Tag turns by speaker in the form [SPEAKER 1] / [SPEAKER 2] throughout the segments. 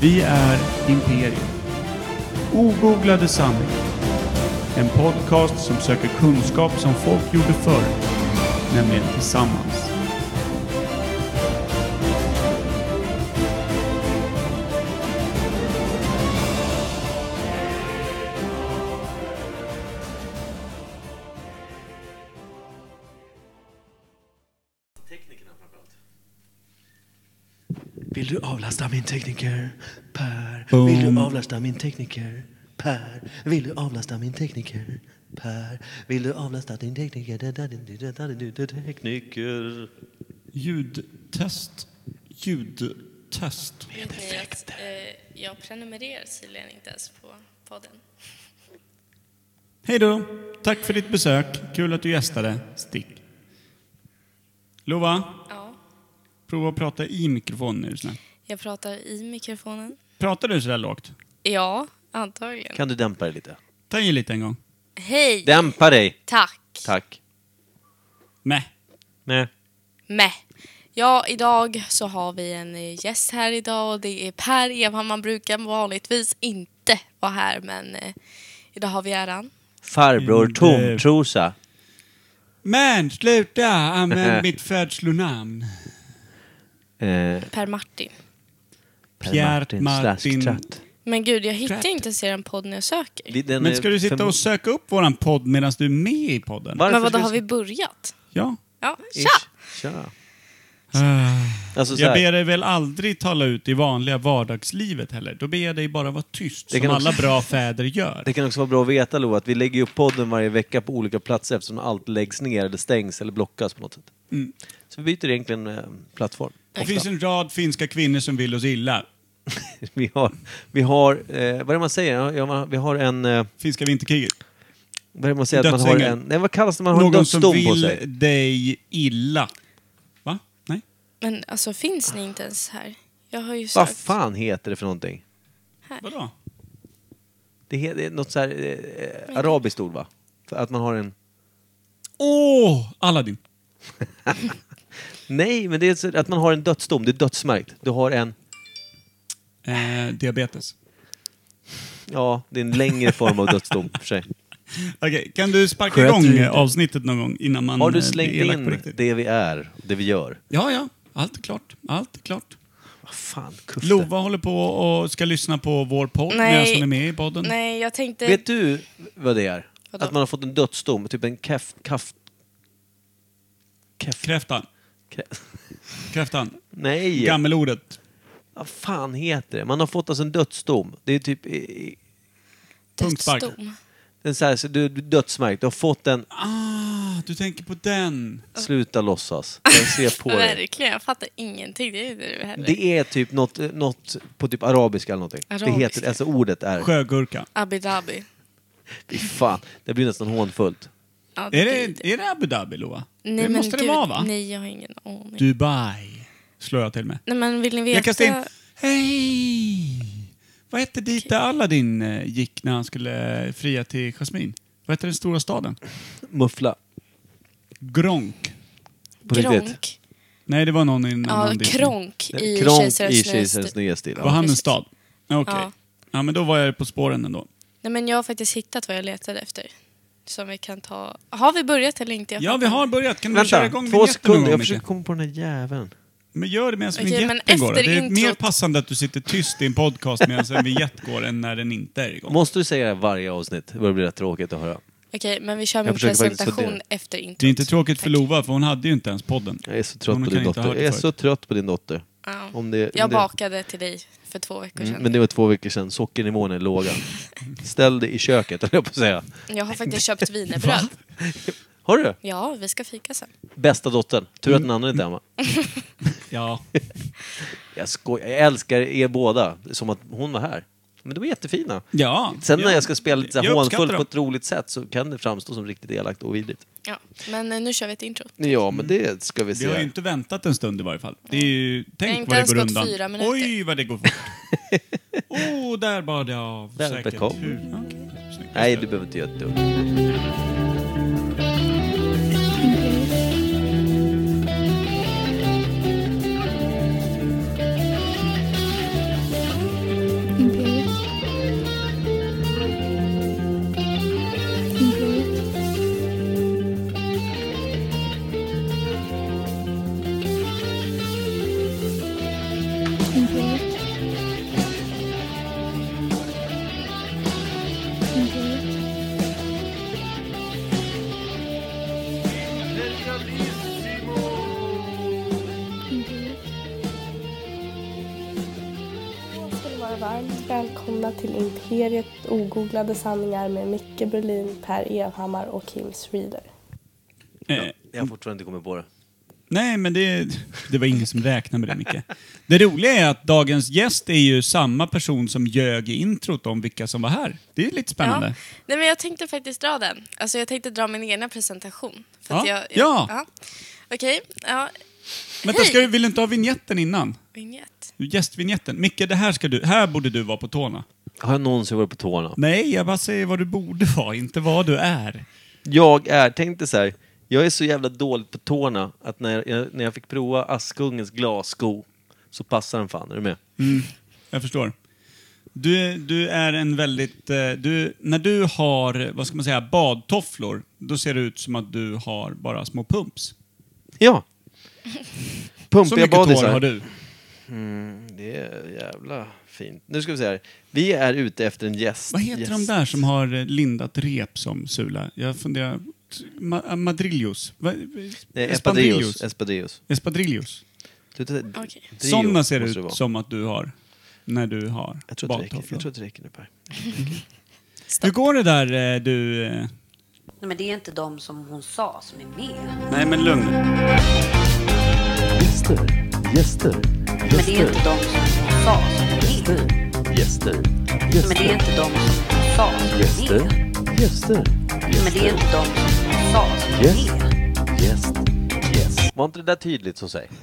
[SPEAKER 1] Vi är Imperium. Ogooglade sanningar. En podcast som söker kunskap som folk gjorde förr, nämligen tillsammans.
[SPEAKER 2] Teknikerna framförallt.
[SPEAKER 3] Vill du avlasta min tekniker? Per.
[SPEAKER 1] Boom.
[SPEAKER 3] Vill du avlasta min tekniker? Per. Vill du avlasta min tekniker? Per. Vill du avlasta din tekniker? Da, da, din, da, da, din, da, Tekniker.
[SPEAKER 4] Ljudtest. Ljudtest.
[SPEAKER 3] Med effekter.
[SPEAKER 5] Eh, jag prenumererar tydligen inte ens på podden.
[SPEAKER 4] Hej då! Tack för ditt besök. Kul att du gästade. Stick. Lova,
[SPEAKER 5] Ja,
[SPEAKER 4] prova att prata i mikrofonen nu snäll.
[SPEAKER 5] jag pratar i mikrofonen.
[SPEAKER 4] Pratar du sådär lågt?
[SPEAKER 5] Ja, antagligen.
[SPEAKER 3] Kan du dämpa dig lite?
[SPEAKER 4] Ta i lite en gång.
[SPEAKER 5] Hej!
[SPEAKER 3] Dämpa dig!
[SPEAKER 5] Tack!
[SPEAKER 3] Tack.
[SPEAKER 4] Mäh.
[SPEAKER 3] Nej.
[SPEAKER 5] Meh. Ja, idag så har vi en eh, gäst här idag och det är Per Evhammar. Han brukar vanligtvis inte vara här men eh, idag har vi äran.
[SPEAKER 3] Farbror
[SPEAKER 4] Mm, det-
[SPEAKER 3] Tomtrosa.
[SPEAKER 4] Men sluta! Använd mitt födslovnamn.
[SPEAKER 3] Eh,
[SPEAKER 5] Per Martin.
[SPEAKER 3] Per
[SPEAKER 4] Pierre
[SPEAKER 3] Martin
[SPEAKER 4] Martin.
[SPEAKER 3] Slasktratt.
[SPEAKER 5] Men gud, jag hittar
[SPEAKER 4] Crap.
[SPEAKER 5] inte ens den podd när jag söker.
[SPEAKER 3] Det- den
[SPEAKER 4] Men
[SPEAKER 3] är
[SPEAKER 4] ska du sitta
[SPEAKER 3] för-
[SPEAKER 4] och söka upp våran podd medan du är med i podden?
[SPEAKER 3] Varför
[SPEAKER 5] Men vadå,
[SPEAKER 3] ska-
[SPEAKER 5] har vi börjat?
[SPEAKER 4] Ja.
[SPEAKER 5] Ja,
[SPEAKER 3] Ish.
[SPEAKER 5] tja!
[SPEAKER 3] Tja!
[SPEAKER 4] Ah.
[SPEAKER 3] Alltså så
[SPEAKER 4] Jag
[SPEAKER 3] här,
[SPEAKER 4] ber dig väl aldrig tala ut i vanliga vardagslivet heller. Då ber jag dig bara vara tyst,
[SPEAKER 3] Det
[SPEAKER 4] som
[SPEAKER 3] kan
[SPEAKER 4] alla
[SPEAKER 3] också-
[SPEAKER 4] bra fäder gör.
[SPEAKER 3] det kan också vara bra att veta Lo, att vi lägger upp podden varje vecka på olika platser eftersom allt läggs ner eller stängs eller blockas på något sätt. Så vi byter egentligen eh, plattform.
[SPEAKER 4] Mm. Det finns en rad finska kvinnor som vill oss illa.
[SPEAKER 3] Vi har, vi har eh, vad är det man säger? Ja, Ja, man- vi har en, eh,
[SPEAKER 4] Finska vinterkriget.
[SPEAKER 3] vad är det man säger att man har
[SPEAKER 4] Dödsängel.
[SPEAKER 3] en, nej vad kallas det man har en
[SPEAKER 4] Någon som
[SPEAKER 3] dödsdom på sig?
[SPEAKER 4] vill dig illa. Va? Nej?
[SPEAKER 5] Men alltså finns ni inte ens här? Jag har ju sökt.
[SPEAKER 3] Vad fan heter det för någonting?
[SPEAKER 4] Vadå?
[SPEAKER 3] Det he- det är något så här eh, eh, arabiskt ord va? För att man har en,
[SPEAKER 4] Åh! Aladdin.
[SPEAKER 3] nej men det är så, att man har en dödsdom, det är dödsmärkt. Du har en,
[SPEAKER 4] Eh, diabetes.
[SPEAKER 3] ja det är en längre form av dödsdom för sig.
[SPEAKER 4] Okej, kan du sparka
[SPEAKER 3] Sköt
[SPEAKER 4] igång
[SPEAKER 3] ut det.
[SPEAKER 4] avsnittet någon gång innan man
[SPEAKER 3] Har du
[SPEAKER 4] eh, blir
[SPEAKER 3] slängt
[SPEAKER 4] elak på
[SPEAKER 3] in
[SPEAKER 4] riktigt?
[SPEAKER 3] det vi är, det vi gör?
[SPEAKER 4] Ja, ja. Allt är klart. Allt är klart.
[SPEAKER 3] Vad fan, kuffe.
[SPEAKER 4] Lova håller på och ska lyssna på vår podd
[SPEAKER 5] Nej.
[SPEAKER 4] medan hon är med i podden.
[SPEAKER 5] Nej, jag tänkte...
[SPEAKER 3] Vet du vad det är?
[SPEAKER 5] Vadå?
[SPEAKER 3] Att man har fått en dödsdom, typ en kaff... kaff... kaff...
[SPEAKER 4] Kräftan.
[SPEAKER 3] kaff.
[SPEAKER 4] Kräftan.
[SPEAKER 3] Nej!
[SPEAKER 4] Gammelordet.
[SPEAKER 3] Vad fan heter det? Man har fått alltså en dödsdom. Det är typ i- i-
[SPEAKER 4] Punktspark.
[SPEAKER 5] Dödsdom.
[SPEAKER 3] en så här, så du, du är dödsmärkt. Du har fått en...
[SPEAKER 4] Ah, du tänker på den.
[SPEAKER 3] Sluta låtsas. Jag ser på dig.
[SPEAKER 5] Verkligen, jag fattar ingenting. Det är inte du heller.
[SPEAKER 3] Det är typ något, något på typ arabiska eller någonting. Det heter,
[SPEAKER 5] Arabiska.
[SPEAKER 3] alltså ordet är...
[SPEAKER 4] Sjögurka.
[SPEAKER 5] Abu Dhabi.
[SPEAKER 3] Fy fan, det blir nästan hånfullt.
[SPEAKER 5] Ja,
[SPEAKER 4] Är det, är det Abu Dhabi, Loa?
[SPEAKER 5] Nej,
[SPEAKER 4] det
[SPEAKER 5] men
[SPEAKER 4] måste det
[SPEAKER 5] gud,
[SPEAKER 4] vara, va?
[SPEAKER 5] Nej, jag har ingen aning.
[SPEAKER 4] Dubai, slår jag till med.
[SPEAKER 5] Nej, men vill ni veta?
[SPEAKER 4] Jag kastar in... Hej! Vad hette dit där Aladdin eh, gick när han skulle eh, fria till Jasmine? Vad hette den stora staden?
[SPEAKER 3] Muffla.
[SPEAKER 4] Gronk.
[SPEAKER 3] På riktigt.
[SPEAKER 5] Gronk.
[SPEAKER 4] Nej, det var någon i en
[SPEAKER 5] Ja,
[SPEAKER 4] annan Disney.
[SPEAKER 5] Kronk i
[SPEAKER 3] Kronk i
[SPEAKER 5] Kejsarens nya
[SPEAKER 3] Kejsarens
[SPEAKER 5] stil.
[SPEAKER 3] nya stil.
[SPEAKER 4] Var
[SPEAKER 3] Ja.
[SPEAKER 4] han en
[SPEAKER 5] precis.
[SPEAKER 4] stad? Okej. Ja.
[SPEAKER 5] Ja.
[SPEAKER 4] men då var jag på spåren ändå.
[SPEAKER 5] Nej, men jag har faktiskt hittat vad jag letade efter. Som vi kan ta... Har vi börjat eller inte? Jag
[SPEAKER 4] Ja, vi
[SPEAKER 5] fattar
[SPEAKER 4] har
[SPEAKER 5] inte.
[SPEAKER 4] börjat. Kan du köra
[SPEAKER 3] Vänta,
[SPEAKER 4] igång
[SPEAKER 3] två
[SPEAKER 4] vignetten någon
[SPEAKER 3] sekunder.
[SPEAKER 4] gång,
[SPEAKER 3] Jag
[SPEAKER 4] Micke?
[SPEAKER 3] försöker komma på den här jäveln.
[SPEAKER 4] Men gör det medan
[SPEAKER 5] Okej, men
[SPEAKER 4] vignetten går.
[SPEAKER 5] efter
[SPEAKER 4] Det är mer
[SPEAKER 5] introt-
[SPEAKER 4] passande att du sitter tyst i en podcast medan en vignett går än när den inte är igång.
[SPEAKER 3] Måste du säga det här varje avsnitt? Det börjar bli rätt tråkigt att höra.
[SPEAKER 5] Okej, men vi kör min
[SPEAKER 3] försöker faktiskt
[SPEAKER 5] presentation
[SPEAKER 3] fundera.
[SPEAKER 5] efter introt.
[SPEAKER 4] Det är inte tråkigt för Lova, för hon hade ju inte ens podden.
[SPEAKER 3] Jag är så trött
[SPEAKER 4] Hon
[SPEAKER 3] på
[SPEAKER 4] kan
[SPEAKER 3] din
[SPEAKER 4] inte ha
[SPEAKER 3] dotter.
[SPEAKER 4] hört
[SPEAKER 3] Jag
[SPEAKER 4] det
[SPEAKER 3] är
[SPEAKER 4] förut.
[SPEAKER 3] så trött på din dotter.
[SPEAKER 5] Ja.
[SPEAKER 3] Om det, om
[SPEAKER 5] Jag
[SPEAKER 3] det...
[SPEAKER 5] bakade till dig för två veckor sedan.
[SPEAKER 3] Mm, Men det var två veckor sedan. Sockernivån är låga. Ställ dig i köket, höll jag på att säga.
[SPEAKER 5] Jag har faktiskt köpt wienerbröd.
[SPEAKER 3] Har du?
[SPEAKER 5] Ja, vi ska fika sen.
[SPEAKER 3] Bästa dottern. Tur att den andra inte är hemma.
[SPEAKER 4] Ja.
[SPEAKER 3] Jag, skojar. jag älskar er båda, som att hon var här. Men de är jättefina.
[SPEAKER 4] ja.
[SPEAKER 3] Sen när
[SPEAKER 4] Ja.
[SPEAKER 3] jag ska spela lite så här
[SPEAKER 4] Jag uppskattar
[SPEAKER 3] hånfullt
[SPEAKER 4] dem.
[SPEAKER 3] på ett roligt sätt så kan det framstå som riktigt elakt och vidrigt.
[SPEAKER 5] Ja. Men eh, nu kör vi ett intro.
[SPEAKER 3] Ja, men det ska vi
[SPEAKER 4] Vi har ju
[SPEAKER 3] se.
[SPEAKER 4] inte väntat en stund i varje fall. Det är ju,
[SPEAKER 5] Det har
[SPEAKER 4] tänk
[SPEAKER 5] inte
[SPEAKER 4] vad det
[SPEAKER 5] ens
[SPEAKER 4] går
[SPEAKER 5] gått
[SPEAKER 4] undan.
[SPEAKER 5] fyra minuter.
[SPEAKER 4] Oj, vad det går fort. oh, där bar det av.
[SPEAKER 3] Där
[SPEAKER 4] säkert.
[SPEAKER 3] kom.
[SPEAKER 4] Hur- okej. Snyggt.
[SPEAKER 3] Nej, du behöver inte göra ett dugg.
[SPEAKER 6] Imperiet. Imperiet. Imperiet.
[SPEAKER 7] ska ni vara varmt välkomna till Imperiet ogooglade sanningar med Micke Berlin, Per Evhammar och Kim Reader.
[SPEAKER 4] Eh,
[SPEAKER 3] Jag har fortfarande inte kommit på det.
[SPEAKER 4] nej, men det, det var ingen som räknade med det, Micke. Det roliga är att dagens gäst är ju samma person som ljög i introt om vilka som var här. Det är ju lite
[SPEAKER 5] Ja.
[SPEAKER 4] spännande.
[SPEAKER 5] Nej, men jag tänkte faktiskt dra den. Alltså, jag tänkte dra min egna presentation. För att
[SPEAKER 4] Ja.
[SPEAKER 5] jag,
[SPEAKER 4] Ja.
[SPEAKER 5] jag, Okej, ja.
[SPEAKER 4] Vänta,
[SPEAKER 5] Hej.
[SPEAKER 4] ska du, vill du inte ha vignetten innan?
[SPEAKER 5] Vignett.
[SPEAKER 4] Gästvinjetten. Micke, det här, ska du, här borde du vara på tårna.
[SPEAKER 3] Har jag någonsin varit på tårna?
[SPEAKER 4] Nej, jag bara säger vad du borde vara, inte vad du är.
[SPEAKER 3] Jag är, tänkte så här, jag är så jävla dåligt på tårna att när jag, när jag fick prova Askungens glassko så passar den fan, är du med?
[SPEAKER 4] Jag förstår. Du, du är en väldigt... eh, Du, när du har, vad ska man säga, badtofflor, då ser det ut som att du har bara små pumps.
[SPEAKER 3] Ja!
[SPEAKER 4] Så
[SPEAKER 3] Pumpiga
[SPEAKER 4] mycket
[SPEAKER 3] badisar.
[SPEAKER 4] tår har du.
[SPEAKER 3] Mm, Det är jävla fint. Nu ska vi se här. Vi är ute efter en gäst.
[SPEAKER 4] Vad heter de
[SPEAKER 3] Gäst.
[SPEAKER 4] där som har eh, lindat rep som sula? Jag funderar... Ma eh, Madrillos? Va-
[SPEAKER 3] Nej,
[SPEAKER 4] Espandrillos?
[SPEAKER 3] Eh, Espadrillos. Espadrillos.
[SPEAKER 4] Espadrillos?
[SPEAKER 3] Du, det-
[SPEAKER 5] Okej.
[SPEAKER 3] Drio
[SPEAKER 4] Sådana ser det
[SPEAKER 3] måste vara.
[SPEAKER 4] ut som att du har när du har
[SPEAKER 3] Jag tror, att det räcker.
[SPEAKER 4] badtofflor.
[SPEAKER 3] jag tror att det räcker nu Per.
[SPEAKER 4] Hur går det där eh, du... eh?
[SPEAKER 8] Nej, men det är inte de som hon sa som är med.
[SPEAKER 4] Nej men lugn
[SPEAKER 9] Gäster, gäster,
[SPEAKER 8] Nej, men det är inte
[SPEAKER 9] gäster,
[SPEAKER 8] de som hon sa som
[SPEAKER 9] gäster,
[SPEAKER 8] är med. Nej, men det är
[SPEAKER 9] gäster,
[SPEAKER 8] inte de som hon sa som är
[SPEAKER 9] gäster,
[SPEAKER 8] med. Nej,
[SPEAKER 9] gäster,
[SPEAKER 8] men det är inte de som hon sa som är med.
[SPEAKER 9] gäst, gäst.
[SPEAKER 3] Var inte det där tydligt så säg?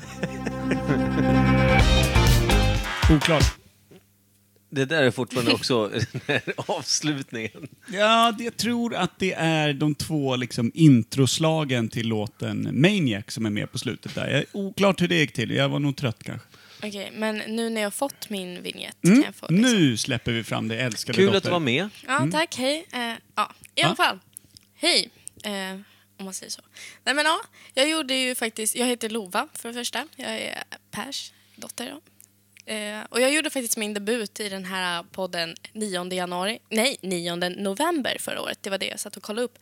[SPEAKER 4] Oklart.
[SPEAKER 3] Det där är fortfarande också den här avslutningen.
[SPEAKER 4] Ja, det- jag tror att det är de två liksom introslagen till låten Maniac som är med på slutet där. Jag är oklart hur det gick till. Jag var nog trött kanske.
[SPEAKER 5] Okej, men nu när jag fått min vignett kan
[SPEAKER 4] Mm.
[SPEAKER 5] jag få liksom.
[SPEAKER 4] Nu släpper vi fram det älskade
[SPEAKER 3] Kul
[SPEAKER 4] dotter.
[SPEAKER 3] att du var med.
[SPEAKER 5] Ja,
[SPEAKER 4] Mm.
[SPEAKER 5] tack. Hej. Eh, ja, i alla fall. Hej, eh, om man säger så. Nej, men ja, jag gjorde ju faktiskt... Jag heter Lova, för det första. Jag är Pers dotter. Då. Eh, och jag gjorde faktiskt min debut i den här podden 9 januari. Nej, 9 november förra året. Det var det jag satt och kollade upp.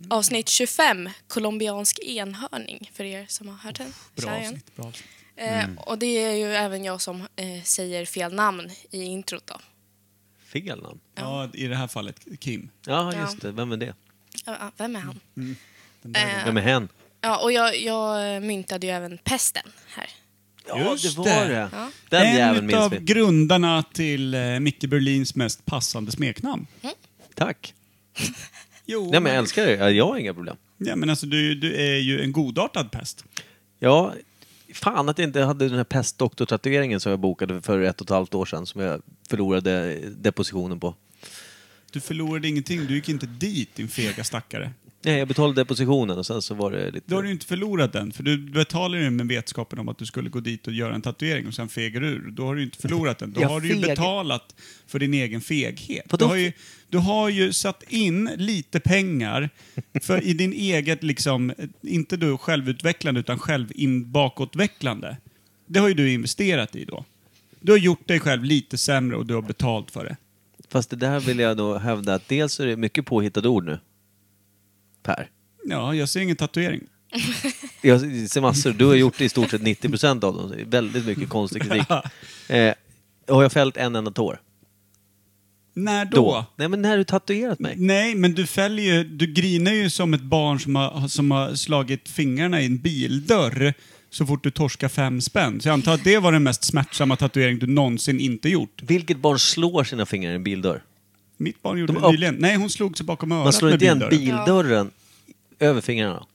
[SPEAKER 4] Mm.
[SPEAKER 5] Avsnitt 25, colombiansk enhörning, för er som har hört den.
[SPEAKER 4] Bra
[SPEAKER 5] Kör igen.
[SPEAKER 4] avsnitt, Mm. bra avsnitt.
[SPEAKER 5] Eh, Och det är ju även jag som eh, säger fel namn i introt. Då.
[SPEAKER 3] Fel namn.
[SPEAKER 4] Ja, i det här fallet Kim.
[SPEAKER 3] Ja,
[SPEAKER 5] Ja.
[SPEAKER 3] just det. Vem är det?
[SPEAKER 5] Ja, ja, vem är han?
[SPEAKER 4] Mm. Den där
[SPEAKER 5] Eh,
[SPEAKER 3] Vem är hen?
[SPEAKER 5] Ja, och jag, jag myntade ju även pesten här.
[SPEAKER 3] Ja,
[SPEAKER 4] just
[SPEAKER 3] det var
[SPEAKER 4] det.
[SPEAKER 3] det.
[SPEAKER 5] Ja.
[SPEAKER 3] Den jäveln
[SPEAKER 4] en
[SPEAKER 3] minns
[SPEAKER 4] av
[SPEAKER 3] vi.
[SPEAKER 4] grundarna till eh, Micke Berlins mest passande smeknamn.
[SPEAKER 3] Tack.
[SPEAKER 4] Jo,
[SPEAKER 3] Nej, men jag älskar det. Ja, Jag har inga problem.
[SPEAKER 4] ja, men alltså, du, du är ju en godartad pest.
[SPEAKER 3] Ja, fan att jag inte hade den här pestdoktortatueringen som jag bokade för ett och ett halvt år sedan som jag förlorade depositionen på.
[SPEAKER 4] Du förlorade ingenting, du gick inte dit din fega stackare.
[SPEAKER 3] Nej, jag betalade depositionen och sen så var det lite...
[SPEAKER 4] Då har du ju inte förlorat den, för du betalade den med vetskapen om att du skulle gå dit och göra en tatuering och sen fegar du ur. Då har du ju inte förlorat den. Då
[SPEAKER 3] Jag
[SPEAKER 4] har du ju
[SPEAKER 3] feg-
[SPEAKER 4] betalat för din egen feghet. Du
[SPEAKER 3] Vadå
[SPEAKER 4] har, ju, du har ju satt in lite pengar för i din eget, liksom, inte du självutvecklande, utan självinbakåtvecklande. Det har ju du investerat i då. Du har gjort dig själv lite sämre och du har betalt för det.
[SPEAKER 3] Fast det där vill jag då hävda att dels är det mycket påhittade ord nu. Per.
[SPEAKER 4] Ja, jag ser ingen tatuering.
[SPEAKER 3] Jag ser massor. Du har gjort i stort sett 90 procent av dem. Det är Väldigt mycket konstig kritik. Eh, har jag fällt en enda tår?
[SPEAKER 4] När
[SPEAKER 3] Då?
[SPEAKER 4] då?
[SPEAKER 3] Nej, men när du tatuerat mig.
[SPEAKER 4] Nej, men du fäller ju, du grinar ju som ett barn som har, som har slagit fingrarna i en bildörr så fort du torskar fem spänn. Så jag antar att det var den mest smärtsamma tatuering du någonsin inte gjort.
[SPEAKER 3] Vilket barn slår sina fingrar i en bildörr?
[SPEAKER 4] Mitt barn gjorde
[SPEAKER 3] De
[SPEAKER 4] det
[SPEAKER 3] upp-
[SPEAKER 4] nyligen. Nej, hon slog sig bakom
[SPEAKER 3] Man
[SPEAKER 4] örat
[SPEAKER 3] slår
[SPEAKER 4] med
[SPEAKER 3] inte igen
[SPEAKER 4] bildörren.
[SPEAKER 3] bildörren över fingrarna.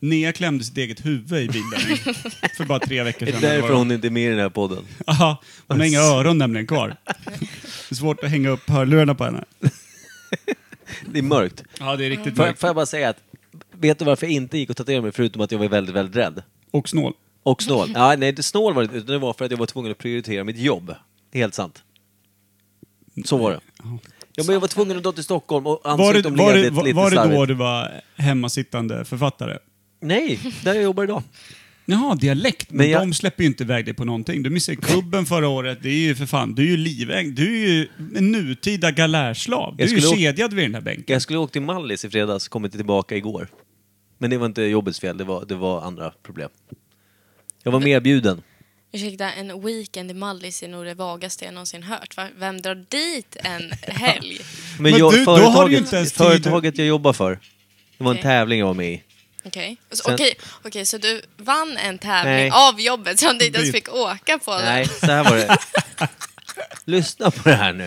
[SPEAKER 4] Nea klämde sitt eget huvud i bildörren för bara tre veckor
[SPEAKER 3] Det
[SPEAKER 4] sedan.
[SPEAKER 3] är därför
[SPEAKER 4] Eller vad
[SPEAKER 3] hon inte är med i den här podden.
[SPEAKER 4] det var. Aha, hon har inga öron nämligen kvar. Det är svårt att hänga upp hörlurarna på henne.
[SPEAKER 3] Det är mörkt.
[SPEAKER 4] Ja, det är riktigt
[SPEAKER 3] Får,
[SPEAKER 4] mörkt.
[SPEAKER 3] får jag bara säga att, vet du varför jag inte gick och tatuerade mig förutom att jag var väldigt, väldigt rädd?
[SPEAKER 4] Och snål.
[SPEAKER 3] Och snål. Ja, nej, det- snål var det inte, utan det var för att jag var tvungen att prioritera mitt jobb. Det är helt sant. Så var det. Ja, men jag var tvungen att dra till Stockholm och
[SPEAKER 4] Var
[SPEAKER 3] ansökte
[SPEAKER 4] det,
[SPEAKER 3] om
[SPEAKER 4] var, det,
[SPEAKER 3] ledigt
[SPEAKER 4] var,
[SPEAKER 3] lite
[SPEAKER 4] var det då
[SPEAKER 3] slarvigt.
[SPEAKER 4] du var hemmasittande författare?
[SPEAKER 3] Nej, där jag jobbar idag.
[SPEAKER 4] Jaha, dialekt. Men,
[SPEAKER 3] Men jag-
[SPEAKER 4] de släpper ju inte iväg dig på någonting. Du missade kubben förra året. Det är ju för fan, du är ju livägd. Du är ju en nutida galärslav. Du
[SPEAKER 3] Jag
[SPEAKER 4] är ju
[SPEAKER 3] skulle å-
[SPEAKER 4] kedjad vid den här bänken.
[SPEAKER 3] Jag skulle åkt till Mallis i fredags, kommit tillbaka igår. Men det var inte jobbets fel, det var, det var andra problem. Jag var medbjuden.
[SPEAKER 5] Ursäkta, en weekend i Mallis är nog det vagaste jag någonsin hört. Va? Vem drar dit en helg?
[SPEAKER 3] Men,
[SPEAKER 4] Men
[SPEAKER 3] jag,
[SPEAKER 4] du- då har du
[SPEAKER 3] företaget,
[SPEAKER 4] ju inte ens tid.
[SPEAKER 3] företaget jag jobbar för, det var en
[SPEAKER 5] Okej.
[SPEAKER 3] tävling jag var med i.
[SPEAKER 5] Okej, så,
[SPEAKER 3] Sen-
[SPEAKER 5] okej, okej, så du vann en tävling
[SPEAKER 3] Nej.
[SPEAKER 5] av jobbet som du inte ens fick åka på? då?
[SPEAKER 3] Nej, så här var det. Lyssna på det här nu.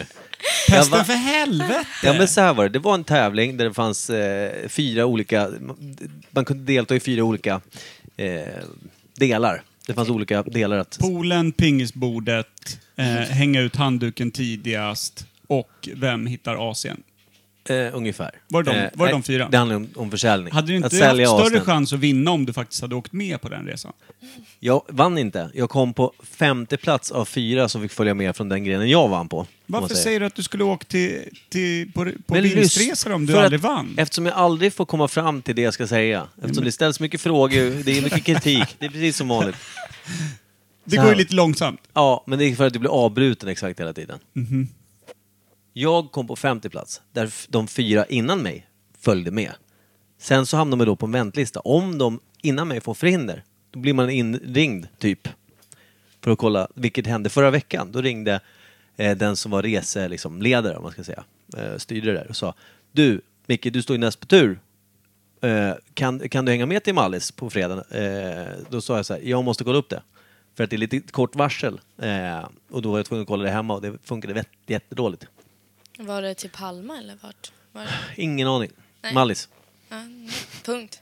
[SPEAKER 3] Jag
[SPEAKER 4] Pesten
[SPEAKER 3] va-
[SPEAKER 4] för helvete!
[SPEAKER 3] Ja men så här var det, det var en tävling där det fanns eh, fyra olika, man kunde delta i fyra olika eh, delar. Det fanns olika delar att...
[SPEAKER 4] Poolen, pingisbordet, eh, hänga ut handduken tidigast och vem hittar Asien?
[SPEAKER 3] Eh, ungefär.
[SPEAKER 4] Var det de- var det de
[SPEAKER 3] nej,
[SPEAKER 4] fyra?
[SPEAKER 3] Det handlar om, om försäljning.
[SPEAKER 4] Hade du
[SPEAKER 3] att
[SPEAKER 4] inte haft
[SPEAKER 3] sälja
[SPEAKER 4] större
[SPEAKER 3] asnen.
[SPEAKER 4] chans att vinna om du faktiskt hade åkt med på den resan?
[SPEAKER 3] Jag vann inte. Jag kom på femte plats av fyra som fick följa med från den grenen jag vann på. om man
[SPEAKER 4] Varför säger du att du skulle åka till, till, på, på
[SPEAKER 3] Men lyssn-
[SPEAKER 4] vinstresa om du
[SPEAKER 3] för att-
[SPEAKER 4] aldrig vann? Mm.
[SPEAKER 3] Eftersom jag aldrig får komma fram till det jag ska säga. Eftersom det ställs mycket frågor, det är mycket kritik. Det är precis som vanligt.
[SPEAKER 4] Det
[SPEAKER 3] så
[SPEAKER 4] går ju
[SPEAKER 3] här.
[SPEAKER 4] lite långsamt.
[SPEAKER 3] Ja, men det är för att du blir avbruten exakt hela tiden. Jag kom på femte plats, där f- de fyra innan mig följde med. Sen så hamnar man då på en väntlista. Om de innan mig får förhinder, då blir man inringd, typ. För att kolla, vilket hände förra veckan. Då ringde eh, den som var reseledare, liksom, ledare, om man ska säga, eh, styrde det där och sa Du, Micke, du står ju näst på tur. Eh, kan, kan du hänga med till Mallis på fredag? Eh, då sa jag så här, jag måste kolla upp det. För att det är lite kort varsel. Eh, och då var jag tvungen att kolla det hemma och det funkade vett- jättedåligt.
[SPEAKER 5] Var det till Palma eller vart? Var det?
[SPEAKER 3] Ingen aning.
[SPEAKER 5] Nej.
[SPEAKER 3] Mallis.
[SPEAKER 5] Ja, punkt.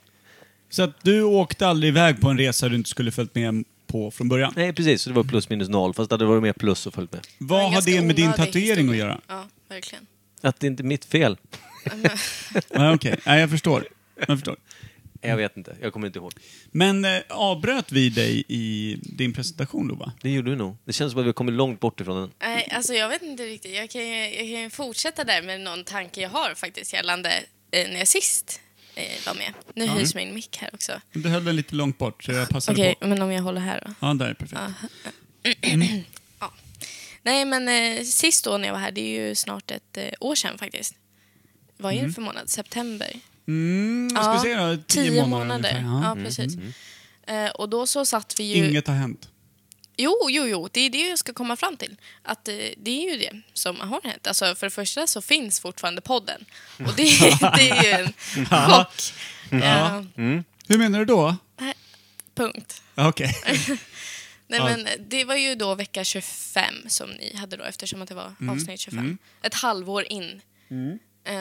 [SPEAKER 4] Så att du åkte aldrig iväg på en resa du inte skulle följt med på från början?
[SPEAKER 3] Nej, precis. Så det var plus minus noll. Fast hade det varit mer plus och följt med.
[SPEAKER 5] var
[SPEAKER 4] Vad
[SPEAKER 5] en
[SPEAKER 4] har
[SPEAKER 5] ganska
[SPEAKER 4] det med din
[SPEAKER 5] onödig
[SPEAKER 4] tatuering att
[SPEAKER 5] historia.
[SPEAKER 4] göra?
[SPEAKER 5] Ja, verkligen.
[SPEAKER 3] Att det inte är mitt fel.
[SPEAKER 4] Nej, okej. Nej, jag förstår. Jag förstår.
[SPEAKER 3] Jag vet inte. Jag kommer inte ihåg.
[SPEAKER 4] Men eh, avbröt vi dig i din presentation, Lova?
[SPEAKER 3] Det gjorde du nog. Det känns som att vi har kommit långt bort ifrån den.
[SPEAKER 5] Nej, alltså jag vet inte riktigt. Jag kan, ju, jag kan ju fortsätta där med någon tanke jag har faktiskt gällande eh, när jag sist eh, var med. Nu hyrs min mick här också.
[SPEAKER 4] Du höll den lite långt bort, så jag passade
[SPEAKER 5] Okej, Ah.
[SPEAKER 4] på.
[SPEAKER 5] men om jag håller här då?
[SPEAKER 4] Ja, där är perfekt.
[SPEAKER 5] Nej, men eh, sist då när jag var här, det är ju snart ett eh, år sedan faktiskt. Vad är det för månad? September?
[SPEAKER 4] Mm, vad ska vi säga då? Tio, månader, ungefär.
[SPEAKER 5] Ja, Mm,
[SPEAKER 4] Ja.
[SPEAKER 5] precis. Eh, och då så satt vi ju...
[SPEAKER 4] Inget har hänt.
[SPEAKER 5] Jo, jo, jo, det är det jag ska komma fram till. Att eh, det är ju det som har hänt. Alltså, för det första så finns fortfarande podden. Och det, det är ju en chock. Eh,
[SPEAKER 4] Hur menar du då?
[SPEAKER 5] punkt.
[SPEAKER 4] Ja, Okej.
[SPEAKER 5] Nej,
[SPEAKER 4] Ja.
[SPEAKER 5] men eh, det var ju då vecka 25 som ni hade då eftersom att det var
[SPEAKER 4] Mm.
[SPEAKER 5] avsnitt 25. Ett halvår in. Eh,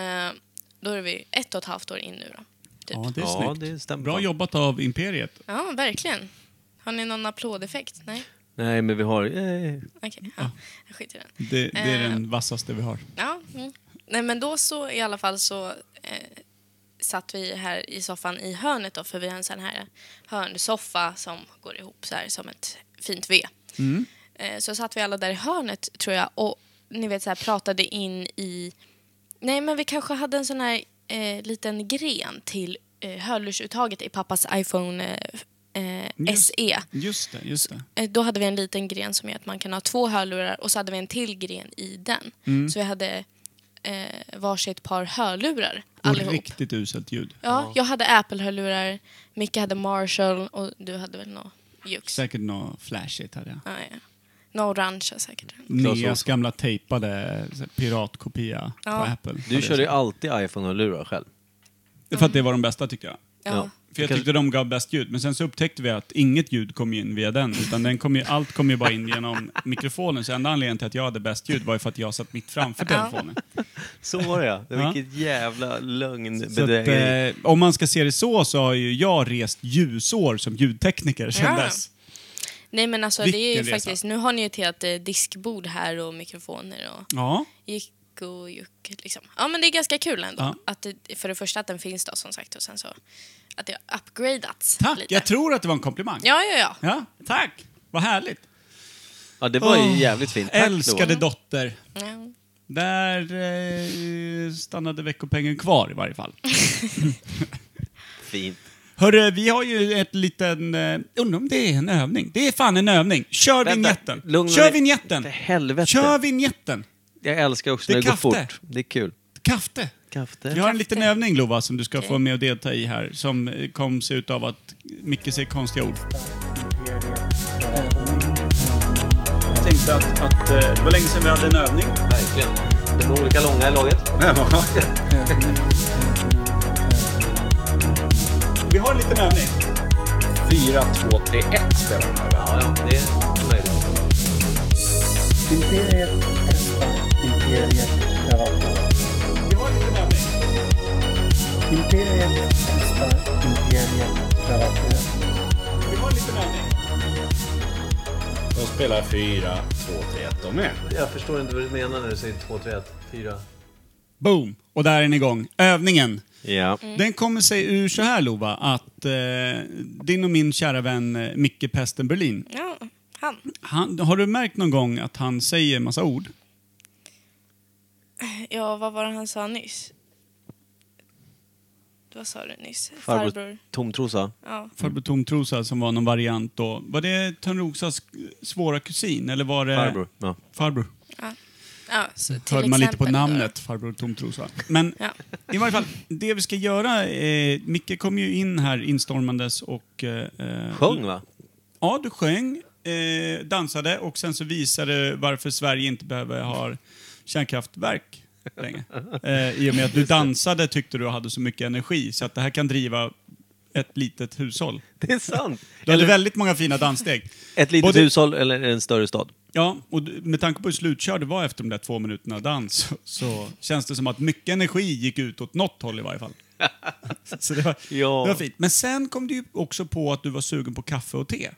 [SPEAKER 5] då är vi ett och ett halvt år in nu då. Typ.
[SPEAKER 4] Ja, det är
[SPEAKER 3] Ja,
[SPEAKER 4] snyggt.
[SPEAKER 3] det stämmer.
[SPEAKER 4] Bra jobbat av Imperiet.
[SPEAKER 5] Ja, verkligen. Har ni någon applådeffekt? Nej?
[SPEAKER 3] Nej, men vi har... Eh,
[SPEAKER 5] Okej, ja. jag skiter i den.
[SPEAKER 4] Det, det är
[SPEAKER 5] Eh.
[SPEAKER 4] den vassaste vi har.
[SPEAKER 5] Ja, mm. Nej, men då så i alla fall så eh, satt vi här i soffan i hörnet då, för vi har en sån här hörnsoffa som går ihop så här som ett fint V. Eh, så satt vi alla där i hörnet tror jag och ni vet så här pratade in i, nej men vi kanske hade en sån här eh, liten gren till eh, hörlursuttaget i pappas iPhone eh, eh,
[SPEAKER 4] Just-
[SPEAKER 5] SE.
[SPEAKER 4] Just det, just det.
[SPEAKER 5] Eh, Då hade vi en liten gren som gör att man kan ha två hörlurar och så hade vi en till gren i den.
[SPEAKER 4] Mm.
[SPEAKER 5] Så vi hade eh, varsitt par hörlurar
[SPEAKER 4] Och
[SPEAKER 5] allihop.
[SPEAKER 4] riktigt uselt ljud.
[SPEAKER 5] Ja, jag hade Apple-hörlurar, Micke hade Marshall och du hade väl något Jux?
[SPEAKER 4] Säkert något flashigt hade jag.
[SPEAKER 5] Ja, ja. Något orange säkert.
[SPEAKER 4] Mm.
[SPEAKER 3] Claes
[SPEAKER 4] Neas
[SPEAKER 3] Olsson.
[SPEAKER 4] gamla tejpade så här, piratkopia
[SPEAKER 5] Ja.
[SPEAKER 4] på Apple.
[SPEAKER 3] du körde ju alltid iPhone-hörlurar själv.
[SPEAKER 4] För att det var de bästa tyckte jag.
[SPEAKER 5] Ja.
[SPEAKER 4] För jag tyckte de gav bäst ljud, men sen så upptäckte vi att inget ljud kom in via den, utan den kom ju, allt kom ju bara in genom mikrofonen. Så enda anledningen till att jag hade bäst ljud var ju för att jag satt mitt framför telefonen.
[SPEAKER 3] Så var det ja.
[SPEAKER 4] Ja.
[SPEAKER 3] Vilket jävla
[SPEAKER 4] Så att,
[SPEAKER 3] lögnbedrägeri.
[SPEAKER 4] eh, om man ska se det så, så har ju jag rest ljusår som ljudtekniker sen
[SPEAKER 5] Ja.
[SPEAKER 4] dess.
[SPEAKER 5] Nej men alltså det är ju
[SPEAKER 4] Vilken resa.
[SPEAKER 5] faktiskt, nu har ni ju till att eh, diskbord här och mikrofoner och
[SPEAKER 4] Ja.
[SPEAKER 5] gick och juck. Liksom. Ja, men det är ganska kul ändå.
[SPEAKER 4] Ja.
[SPEAKER 5] Att det, för det första att den finns då som sagt och sen så att det har upgradats
[SPEAKER 4] Tack!
[SPEAKER 5] lite.
[SPEAKER 4] Jag tror att det var en komplimang.
[SPEAKER 5] Ja, ja, ja.
[SPEAKER 4] Ja, tack! Vad härligt.
[SPEAKER 3] Ja, det var ju
[SPEAKER 4] Åh,
[SPEAKER 3] jävligt fint. Tack,
[SPEAKER 4] Älskade
[SPEAKER 3] Loa.
[SPEAKER 4] dotter.
[SPEAKER 5] ja.
[SPEAKER 4] Där eh, stannade veckopengen kvar i varje fall.
[SPEAKER 3] Fint.
[SPEAKER 4] Hörru, vi har ju ett liten... Eh, undrar om det är en övning. Det är fan en övning. Kör
[SPEAKER 3] Vänta,
[SPEAKER 4] vignetten.
[SPEAKER 3] lugna
[SPEAKER 4] Kör
[SPEAKER 3] dig.
[SPEAKER 4] vignetten.
[SPEAKER 3] För helvete.
[SPEAKER 4] Kör vignetten.
[SPEAKER 3] Jag älskar
[SPEAKER 4] Det
[SPEAKER 3] också när
[SPEAKER 4] är
[SPEAKER 3] det går
[SPEAKER 4] kaffe.
[SPEAKER 3] fort. Det är kul.
[SPEAKER 4] Kaffe.
[SPEAKER 3] Kaffe.
[SPEAKER 4] Jag har en liten övning Lova som du ska få med och delta i här som eh, kom sig utav att Micke säger konstiga ord. Jag tänkte att, att eh, det var länge sedan vi hade en övning.
[SPEAKER 3] Verkligen. De är olika långa i laget.
[SPEAKER 4] Vi har en liten övning.
[SPEAKER 10] 4, 2, 3, 1 spelar de här.
[SPEAKER 3] Ja, ja, det är möjligt.
[SPEAKER 9] Imperiet testar. Imperiet övar.
[SPEAKER 4] Vi har en liten övning.
[SPEAKER 9] Imperiet testar. Imperiet övar.
[SPEAKER 4] Vi har en liten övning.
[SPEAKER 10] De spelar 4, 2, 3, 1 de med.
[SPEAKER 3] Jag förstår inte vad du menar när du säger 2, 3, 1, 4.
[SPEAKER 4] Boom! Och där är den igång. Övningen.
[SPEAKER 3] Ja.
[SPEAKER 4] Den kommer sig ur så här Lova att eh, din och min kära vän eh, Micke Pesten Berlin.
[SPEAKER 5] Ja, han.
[SPEAKER 4] Han, har du märkt någon gång att han säger massa ord?
[SPEAKER 5] Ja, vad var det han sa nyss? Vad sa du nyss?
[SPEAKER 3] Farbror,
[SPEAKER 5] Farbror.
[SPEAKER 3] Tomtrosa.
[SPEAKER 5] Ja.
[SPEAKER 4] Farbror Tomtrosa som var någon variant då. Var det Törnrosas svåra kusin eller var det...
[SPEAKER 3] Farbror. Ja.
[SPEAKER 4] Farbror.
[SPEAKER 5] ja så till
[SPEAKER 4] Hörde man lite på
[SPEAKER 5] exempel då.
[SPEAKER 4] namnet, farbror Tomtrosa. Men
[SPEAKER 5] Ja.
[SPEAKER 4] i varje fall, det vi ska göra, eh, Micke kom ju in här instormandes och... Eh,
[SPEAKER 3] Sjung va?
[SPEAKER 4] Ja, du sjöng, eh, dansade och sen så visade du varför Sverige inte behöver ha kärnkraftverk längre. Eh, I och med att du dansade tyckte du hade så mycket energi så att det här kan driva ett litet hushåll.
[SPEAKER 3] Det är sant.
[SPEAKER 4] Du hade väldigt många fina danssteg.
[SPEAKER 3] Ett litet
[SPEAKER 4] Både-
[SPEAKER 3] hushåll eller en större stad.
[SPEAKER 4] Ja, och d- med tanke på hur slutkörd det var efter de där två minuterna dans så, så känns det som att mycket energi gick ut åt något håll i varje fall. Så det var,
[SPEAKER 3] Ja.
[SPEAKER 4] det var fint. Men sen kom du ju också på att du var sugen på kaffe och te.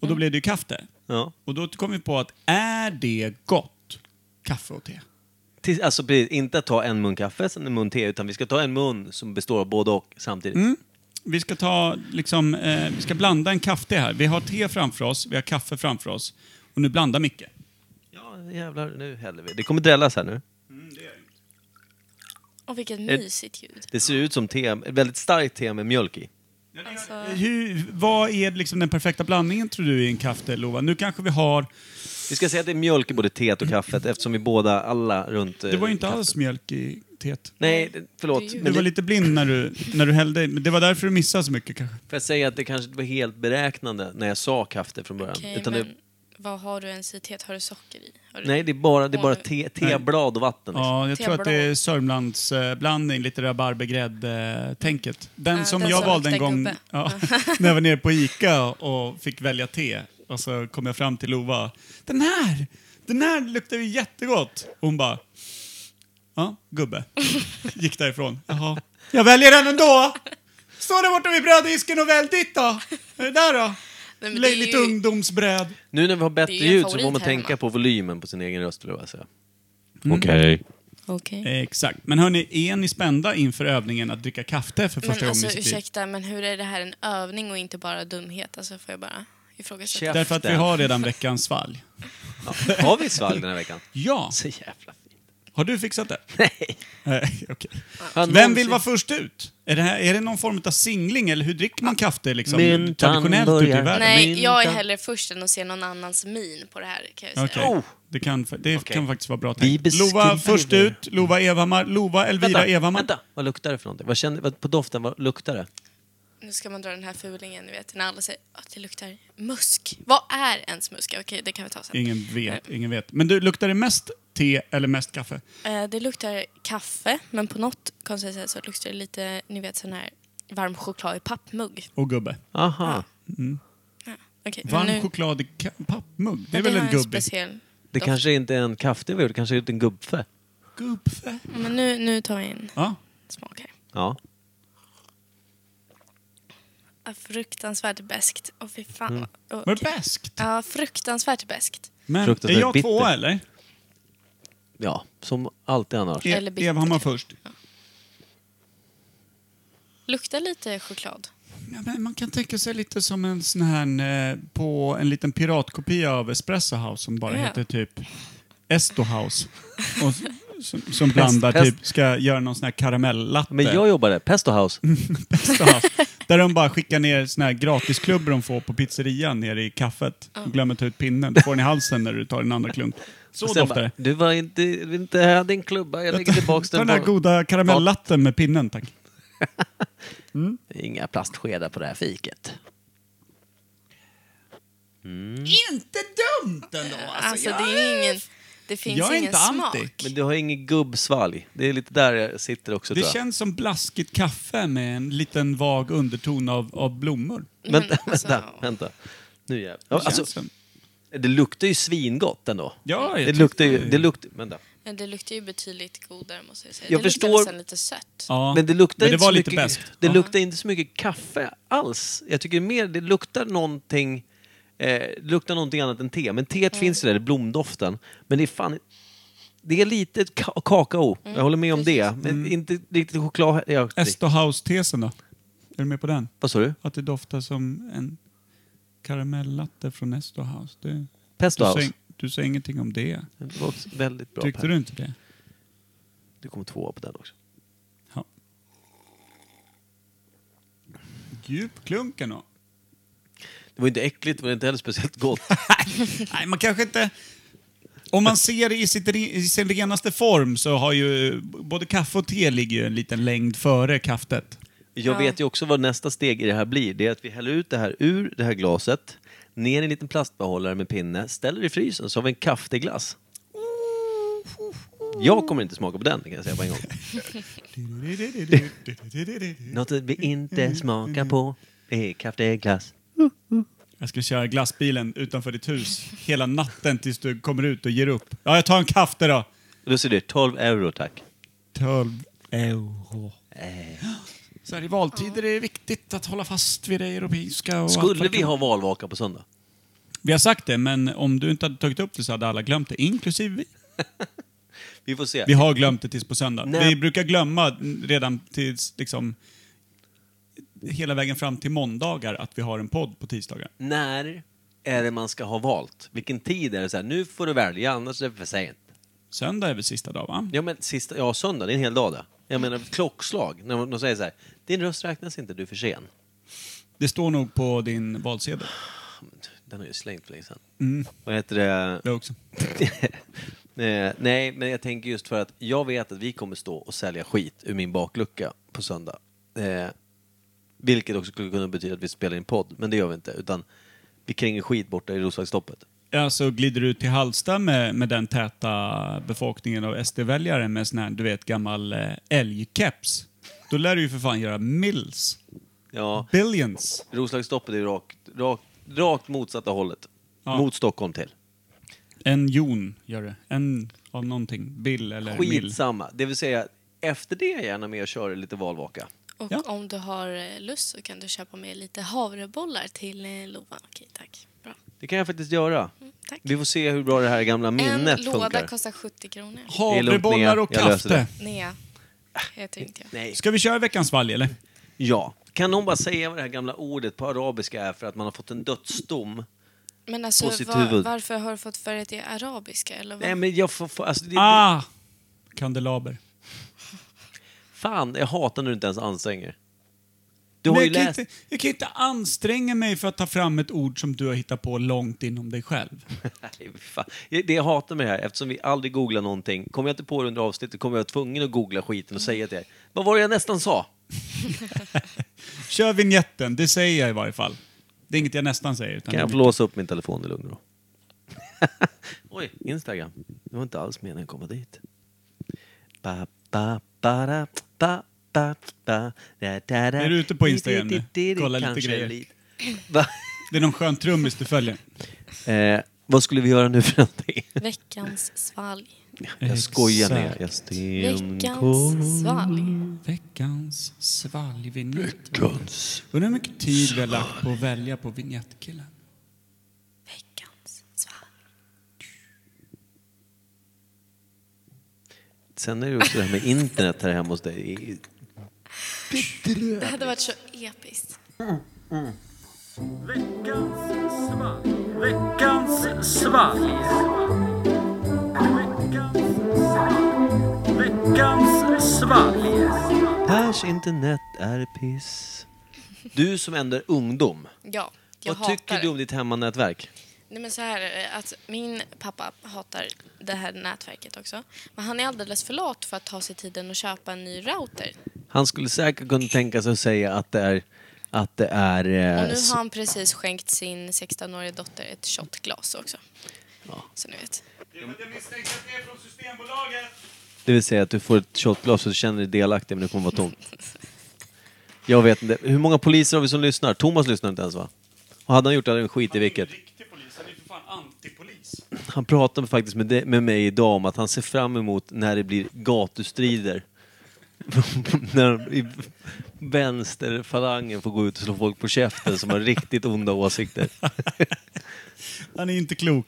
[SPEAKER 4] Och då blev det ju kaffe.
[SPEAKER 3] Ja.
[SPEAKER 4] Och då kom vi på att är det gott? Kaffe och te.
[SPEAKER 3] Till- Alltså precis, inte att ta en mun kaffe, sen en mun te, utan vi ska ta en mun som består av både och samtidigt.
[SPEAKER 4] Mm. Vi ska ta, liksom, eh, vi ska blanda en kaffe här. Vi har te framför oss, vi har kaffe framför oss. Och nu blandar Micke.
[SPEAKER 3] Ja, jävlar, nu häller vi. Det kommer drällas här nu.
[SPEAKER 5] Och vilket mysigt ljud.
[SPEAKER 3] Det ser ut som te, ett väldigt starkt te med mjölk i.
[SPEAKER 5] Alltså,
[SPEAKER 4] Hur, vad är liksom den perfekta blandningen tror du i en kaffe, Lova? Nu kanske vi har
[SPEAKER 3] Vi ska säga att det är mjölk i både teet och kaffet eftersom vi båda, alla runt... eh,
[SPEAKER 4] Det var ju inte alls mjölk i teet.
[SPEAKER 3] Nej, det- förlåt.
[SPEAKER 5] Du
[SPEAKER 4] Du
[SPEAKER 3] Men
[SPEAKER 4] var
[SPEAKER 3] det,
[SPEAKER 4] lite blind när du, när du hällde i, men det var därför du missade så mycket kanske.
[SPEAKER 3] får jag säga att det kanske inte var helt beräknande när jag sa kaffe från början.
[SPEAKER 5] okej,
[SPEAKER 3] utan
[SPEAKER 5] men
[SPEAKER 3] det,
[SPEAKER 5] vad har du ens i teet? Har du socker i? Har du...
[SPEAKER 3] nej, det är bara, det är bara te, teblad och vatten. Liksom.
[SPEAKER 4] Ja, jag tror att det är
[SPEAKER 5] Teblad.
[SPEAKER 4] Sörmlands eh, blandning, lite rabarbergrädde-tänket. Den
[SPEAKER 5] Ja,
[SPEAKER 4] som
[SPEAKER 5] den
[SPEAKER 4] jag
[SPEAKER 5] som
[SPEAKER 4] valde en
[SPEAKER 5] luktar
[SPEAKER 4] gång
[SPEAKER 5] gubbe.
[SPEAKER 4] ja, när jag var nere på ICA och fick välja te. Och så kom jag fram till Lova. Den här! Den här luktar ju jättegott! Och hon bara... Ja, gubbe. Gick därifrån. Jaha. Jag väljer den ändå! Står där borta vid bröddisken och välj ditt då! Är det där då?
[SPEAKER 5] Nej, men det är
[SPEAKER 4] Löjligt
[SPEAKER 5] ju-
[SPEAKER 4] ungdomsbröd.
[SPEAKER 3] Nu när vi har bättre
[SPEAKER 5] Det är ju en
[SPEAKER 3] ljud så får
[SPEAKER 5] favorit
[SPEAKER 3] man
[SPEAKER 5] här
[SPEAKER 3] tänka
[SPEAKER 5] hemma.
[SPEAKER 3] på volymen på sin egen röst, vill jag säga.
[SPEAKER 10] Okej.
[SPEAKER 5] Okej.
[SPEAKER 4] Eh, Exakt. Men hörni, är ni spända inför övningen att dricka kaffe för
[SPEAKER 5] Men
[SPEAKER 4] första
[SPEAKER 5] alltså
[SPEAKER 4] gången i sitt liv?
[SPEAKER 5] ursäkta, men hur är det här en övning och inte bara dumhet? Alltså får jag bara ifrågasätta?
[SPEAKER 3] Käften.
[SPEAKER 4] Därför att vi har redan veckans svalg.
[SPEAKER 3] Har vi svalg den här veckan?
[SPEAKER 4] Ja,
[SPEAKER 3] Så jävla fint.
[SPEAKER 4] har du fixat det?
[SPEAKER 3] Nej.
[SPEAKER 4] Nej, okej.
[SPEAKER 3] Har
[SPEAKER 4] Vem vill
[SPEAKER 3] någonsin-
[SPEAKER 4] vara först ut? Är det, här, är det någon form av singling eller hur dricker man kaffe liksom,
[SPEAKER 3] Myntan
[SPEAKER 4] traditionellt ute i
[SPEAKER 3] börjar.
[SPEAKER 4] världen?
[SPEAKER 5] Nej, jag är
[SPEAKER 3] Minta.
[SPEAKER 5] hellre först än att se någon annans min på det här kan jag säga.
[SPEAKER 4] Okej.
[SPEAKER 3] Oh.
[SPEAKER 4] Det, kan, fa- det kan faktiskt vara bra
[SPEAKER 3] Vi
[SPEAKER 4] tänkt. Lova
[SPEAKER 3] beskriver-
[SPEAKER 4] först ut, Lova Evhammar, Lova Elvira
[SPEAKER 3] Vänta,
[SPEAKER 4] Evhammar.
[SPEAKER 3] vänta. Vad luktar det för någonting? Vad känner, vad, på doften, vad luktar det?
[SPEAKER 5] Nu ska man dra den här fulingen, ni vet, när alla säger att det luktar musk. Vad är ens musk? Okej, det kan vi ta sen.
[SPEAKER 4] Ingen vet, ingen vet. Men du, luktar det mest te eller mest kaffe?
[SPEAKER 5] Eh, det luktar kaffe, men på något konstigt sätt så luktar det lite, ni vet, sån här varm choklad i pappmugg.
[SPEAKER 4] Och gubbe.
[SPEAKER 3] Aha.
[SPEAKER 5] Ah, Okej, men
[SPEAKER 4] Varm
[SPEAKER 5] nu-
[SPEAKER 4] choklad i ka- pappmugg, det är
[SPEAKER 5] men
[SPEAKER 4] väl
[SPEAKER 5] har
[SPEAKER 4] en gubbe?
[SPEAKER 5] speciell
[SPEAKER 3] Det
[SPEAKER 5] doft.
[SPEAKER 3] kanske inte är en kaffe vi har gjort, det kanske är en gubbfe.
[SPEAKER 4] Gubbe?
[SPEAKER 5] Men nu, nu tar jag in
[SPEAKER 4] Ja.
[SPEAKER 5] smak här.
[SPEAKER 3] Ja.
[SPEAKER 5] Ah, Fruktansvärt beskt. Åh fy fan.
[SPEAKER 4] Mm.
[SPEAKER 5] Åh,
[SPEAKER 4] Var det
[SPEAKER 5] okej.
[SPEAKER 4] bäst?
[SPEAKER 5] Ja, fruktansvärt beskt.
[SPEAKER 4] Men är
[SPEAKER 3] Fruktansvärt
[SPEAKER 4] jag
[SPEAKER 3] bitter.
[SPEAKER 4] tvåa eller? E-
[SPEAKER 3] Ja, som alltid annars.
[SPEAKER 5] Eller bitter,
[SPEAKER 4] Evhammar
[SPEAKER 5] kanske.
[SPEAKER 4] först.
[SPEAKER 5] Luktar lite choklad.
[SPEAKER 4] Ja, men man kan tänka sig lite som en sån här eh, på en liten piratkopia av Espresso House som bara
[SPEAKER 5] Ja.
[SPEAKER 4] heter typ Esto House. Och s- Som, som blandar,
[SPEAKER 3] Test, test.
[SPEAKER 4] typ, ska göra någon sån här karamellatte.
[SPEAKER 3] Men jag jobbade, Pesto House.
[SPEAKER 4] Bästa haft. Där de bara skickar ner såna här gratisklubbor de får på pizzerian nere i kaffet. Glömmer ta ut pinnen. Du får den i halsen när du tar en andra klunk. Så
[SPEAKER 3] Sen
[SPEAKER 4] doftar
[SPEAKER 3] bara,
[SPEAKER 4] det.
[SPEAKER 3] Du var inte, inte här, din klubba. Jag lägger tillbaks
[SPEAKER 4] Ta
[SPEAKER 3] den.
[SPEAKER 4] den här
[SPEAKER 3] på-
[SPEAKER 4] goda karamellatten med pinnen, tack.
[SPEAKER 3] Inga plastskedar på det här fiket.
[SPEAKER 4] Inte dumt ändå!
[SPEAKER 5] Alltså, det är ju ingen... Det finns
[SPEAKER 4] jag är
[SPEAKER 5] ingen
[SPEAKER 4] inte
[SPEAKER 5] smak.
[SPEAKER 4] anti.
[SPEAKER 3] Men du har ingen gubbsvalg. Det är lite där jag sitter också
[SPEAKER 4] Det
[SPEAKER 3] tror jag.
[SPEAKER 4] känns som blaskigt kaffe med en liten vag underton av, av blommor.
[SPEAKER 3] Vänta,
[SPEAKER 5] Men alltså-
[SPEAKER 3] vänta, vänta. Nu jävlar. Ja,
[SPEAKER 4] Mm, Känns
[SPEAKER 3] alltså,
[SPEAKER 4] som.
[SPEAKER 3] det luktar ju svingott ändå.
[SPEAKER 4] Ja, jag
[SPEAKER 3] det
[SPEAKER 4] tycker-
[SPEAKER 3] luktar ju... Det luktar, vänta.
[SPEAKER 5] Men det luktar ju betydligt godare måste jag säga.
[SPEAKER 3] Jag
[SPEAKER 5] det
[SPEAKER 3] förstår-
[SPEAKER 5] luktar nästan lite sött.
[SPEAKER 4] Ja.
[SPEAKER 3] Men det luktar
[SPEAKER 4] Men det
[SPEAKER 3] inte
[SPEAKER 4] var
[SPEAKER 3] så
[SPEAKER 4] lite
[SPEAKER 3] mycket,
[SPEAKER 4] beskt.
[SPEAKER 3] Det
[SPEAKER 4] Ja.
[SPEAKER 3] luktar inte så mycket kaffe alls. Jag tycker mer det luktar någonting... Eh, det luktar någonting annat än te. Men teet finns ju där, blomdoften. Men det är fan... Det är lite ka- kakao. Jag
[SPEAKER 4] Mm,
[SPEAKER 3] håller med om det. Men inte riktigt choklad... Ja,
[SPEAKER 4] Estohaus-tesen då? Är du med på den?
[SPEAKER 3] vad sa du?
[SPEAKER 4] Att det doftar som en karamellatte från Estohaus. Det...
[SPEAKER 3] Pesto
[SPEAKER 4] Du
[SPEAKER 3] House.
[SPEAKER 4] säger, du säger ingenting om det.
[SPEAKER 3] Det var väldigt bra.
[SPEAKER 4] Tyckte
[SPEAKER 3] Per.
[SPEAKER 4] du inte det?
[SPEAKER 3] Du kom tvåa på den också.
[SPEAKER 4] Ja. Djupklunken då?
[SPEAKER 3] Det var inte äckligt, det var inte heller speciellt gott.
[SPEAKER 4] Nej, man kanske inte... Om man ser det i, sitt, re- i sin renaste form så har ju både kaffe och te ligger ju en liten längd före kaffet.
[SPEAKER 3] Jag vet ju också vad nästa steg i det här blir. Det är att vi häller ut det här ur det här glaset, ner i en liten plastbehållare med pinne, ställer i frysen så har vi en kafteglass. Jag kommer inte smaka på den, det kan jag säga på en gång. Något vi
[SPEAKER 4] Mm,
[SPEAKER 3] inte smakar på är kafteglass.
[SPEAKER 4] Jag ska köra glassbilen utanför ditt hus hela natten tills du kommer ut och ger upp. Ja, jag tar en kaffe då.
[SPEAKER 3] Då ser du, 12 euro tack.
[SPEAKER 4] 12 euro. Så här i valtider är det viktigt att hålla fast vid det europeiska. Och allt
[SPEAKER 3] Skulle
[SPEAKER 4] vad det
[SPEAKER 3] vi
[SPEAKER 4] kan-
[SPEAKER 3] ha valvaka på söndag?
[SPEAKER 4] Vi har sagt det, men om du inte hade tagit upp det så hade alla glömt det, inklusive vi.
[SPEAKER 3] Vi får se.
[SPEAKER 4] Vi har glömt det tills på söndag.
[SPEAKER 3] Nej.
[SPEAKER 4] Vi brukar glömma redan tills, liksom, hela vägen fram till måndagar att vi har en podd på tisdagar.
[SPEAKER 3] När är det man ska ha valt? Vilken tid är det så här, nu får du välja, annars är det för sent.
[SPEAKER 4] Söndag är väl sista dag, va?
[SPEAKER 3] Ja, men sista, ja, söndag, det är en hel dag det. Jag menar klockslag, när de- de säger så här, din röst räknas inte, du är för sen.
[SPEAKER 4] Det står nog på din valsedel.
[SPEAKER 3] Den har jag ju slängt för länge sedan. Vad heter det?
[SPEAKER 4] Jag också.
[SPEAKER 3] Eh, Nej, men jag tänker just för att jag vet att vi kommer stå och sälja skit ur min baklucka på söndag. Eh, vilket också skulle kunna betyda att vi spelar in podd, men det gör vi inte. Utan vi kränger skit borta i Roslagsstoppet.
[SPEAKER 4] Alltså, glider du ut till Halsta med, med den täta befolkningen av SD-väljare med sån här, du vet, gammal eh, älgkeps, då lär du ju för fan göra mills.
[SPEAKER 3] Ja,
[SPEAKER 4] Billions.
[SPEAKER 3] Roslagsstoppet är ju rakt, rakt, rakt motsatta hållet.
[SPEAKER 4] Ja.
[SPEAKER 3] Mot Stockholm till.
[SPEAKER 4] En jon gör det. En av någonting. Bill eller Mill.
[SPEAKER 3] Skitsamma. Det vill säga, efter det är jag gärna med och kör lite valvaka.
[SPEAKER 5] Och
[SPEAKER 4] Ja.
[SPEAKER 5] om du har eh, lust så kan du köpa med lite havrebollar till eh, Lova. Okej, tack. Bra.
[SPEAKER 3] Det kan jag faktiskt göra.
[SPEAKER 5] Tack.
[SPEAKER 3] Vi får se hur bra det här gamla minnet
[SPEAKER 5] en låda
[SPEAKER 3] funkar.
[SPEAKER 5] kostar 70 kronor.
[SPEAKER 3] är lugnt, Nea.
[SPEAKER 4] Havrebollar och
[SPEAKER 3] Jag löser
[SPEAKER 4] kaffe.
[SPEAKER 5] Nea heter inte jag.
[SPEAKER 3] Nej.
[SPEAKER 4] Ska vi köra veckans valg eller?
[SPEAKER 3] Ja. Kan någon bara säga vad det här gamla ordet på arabiska är för att man har fått en dödsdom?
[SPEAKER 5] Men
[SPEAKER 3] På
[SPEAKER 5] alltså,
[SPEAKER 3] sitt
[SPEAKER 5] var,
[SPEAKER 3] huvud.
[SPEAKER 5] varför har du fått för dig att det är arabiska? Eller vad?
[SPEAKER 3] Nej, men jag får... får alltså, det,
[SPEAKER 4] Ah! Kandelaber.
[SPEAKER 3] Fan, jag hatar när du inte ens anstränger. Du har
[SPEAKER 4] Men
[SPEAKER 3] ju
[SPEAKER 4] jag, kan
[SPEAKER 3] läst...
[SPEAKER 4] inte, jag kan inte anstränga mig för att ta fram ett ord som du har hittat på långt inom dig själv.
[SPEAKER 3] Nej, fan. Det jag hatar med det här, eftersom vi aldrig googlar någonting, kommer jag inte på det under avsnittet kommer jag vara tvungen att googla skiten och säga till er. Vad var det jag nästan sa?
[SPEAKER 4] Kör vignetten, det säger jag i varje fall. Det är inget jag nästan säger. Utan
[SPEAKER 3] Kan jag
[SPEAKER 4] det-
[SPEAKER 3] få låsa upp min telefon i lugn och ro? Oj, Instagram. Det var inte alls meningen att komma dit. Ba, ba, ba, da, ba, ba, ba, da, da, da.
[SPEAKER 4] Är du ute på Instagram nu?
[SPEAKER 3] Di, di, di, di,
[SPEAKER 4] Kolla lite
[SPEAKER 3] kanske
[SPEAKER 4] grejer.
[SPEAKER 3] lite. Va?
[SPEAKER 4] det är någon skön trummis du följer.
[SPEAKER 3] Eh, vad skulle vi göra nu för någonting?
[SPEAKER 5] Veckans svalg.
[SPEAKER 3] Jag skojar ner. Jag
[SPEAKER 5] Veckans
[SPEAKER 3] stenkoll.
[SPEAKER 5] svalg.
[SPEAKER 4] Veckans svalgvinjett. Undrar hur mycket tid vi har lagt på att välja på vinjettkillen.
[SPEAKER 5] Veckans svalg.
[SPEAKER 3] Sen är det också det här med internet här hemma hos dig.
[SPEAKER 5] Det hade varit så episkt.
[SPEAKER 9] Veckans svalg. Veckans svalg.
[SPEAKER 3] Anders internet är piss. Du som ändå är ungdom.
[SPEAKER 5] Ja, jag
[SPEAKER 3] vad tycker
[SPEAKER 5] hatar
[SPEAKER 3] du
[SPEAKER 5] det.
[SPEAKER 3] om ditt hemmanätverk?
[SPEAKER 5] Nej, men så här är det, att min pappa hatar det här nätverket också. Men han är alldeles för lat för att ta sig tiden att köpa en ny router.
[SPEAKER 3] Han skulle säkert kunna tänka sig att säga att det är... Att det är... eh,
[SPEAKER 5] Och nu
[SPEAKER 3] s-
[SPEAKER 5] har han precis skänkt sin 16-åriga dotter ett shotglas också. Så ni vet.
[SPEAKER 3] Det vill säga att du får ett shotglas och du känner dig delaktig men det kommer vara tomt. Jag vet inte. Hur många poliser har vi som lyssnar? Thomas lyssnar inte ens va? Och hade han gjort det hade han skit i vilket.
[SPEAKER 4] riktig polis, han är ju för fan antipolis.
[SPEAKER 3] Han pratade faktiskt med, de- med mig idag om att han ser fram emot när det blir gatustrider. när i vänsterfalangen får gå ut och slå folk på käften som har riktigt onda åsikter.
[SPEAKER 4] Han är inte klok.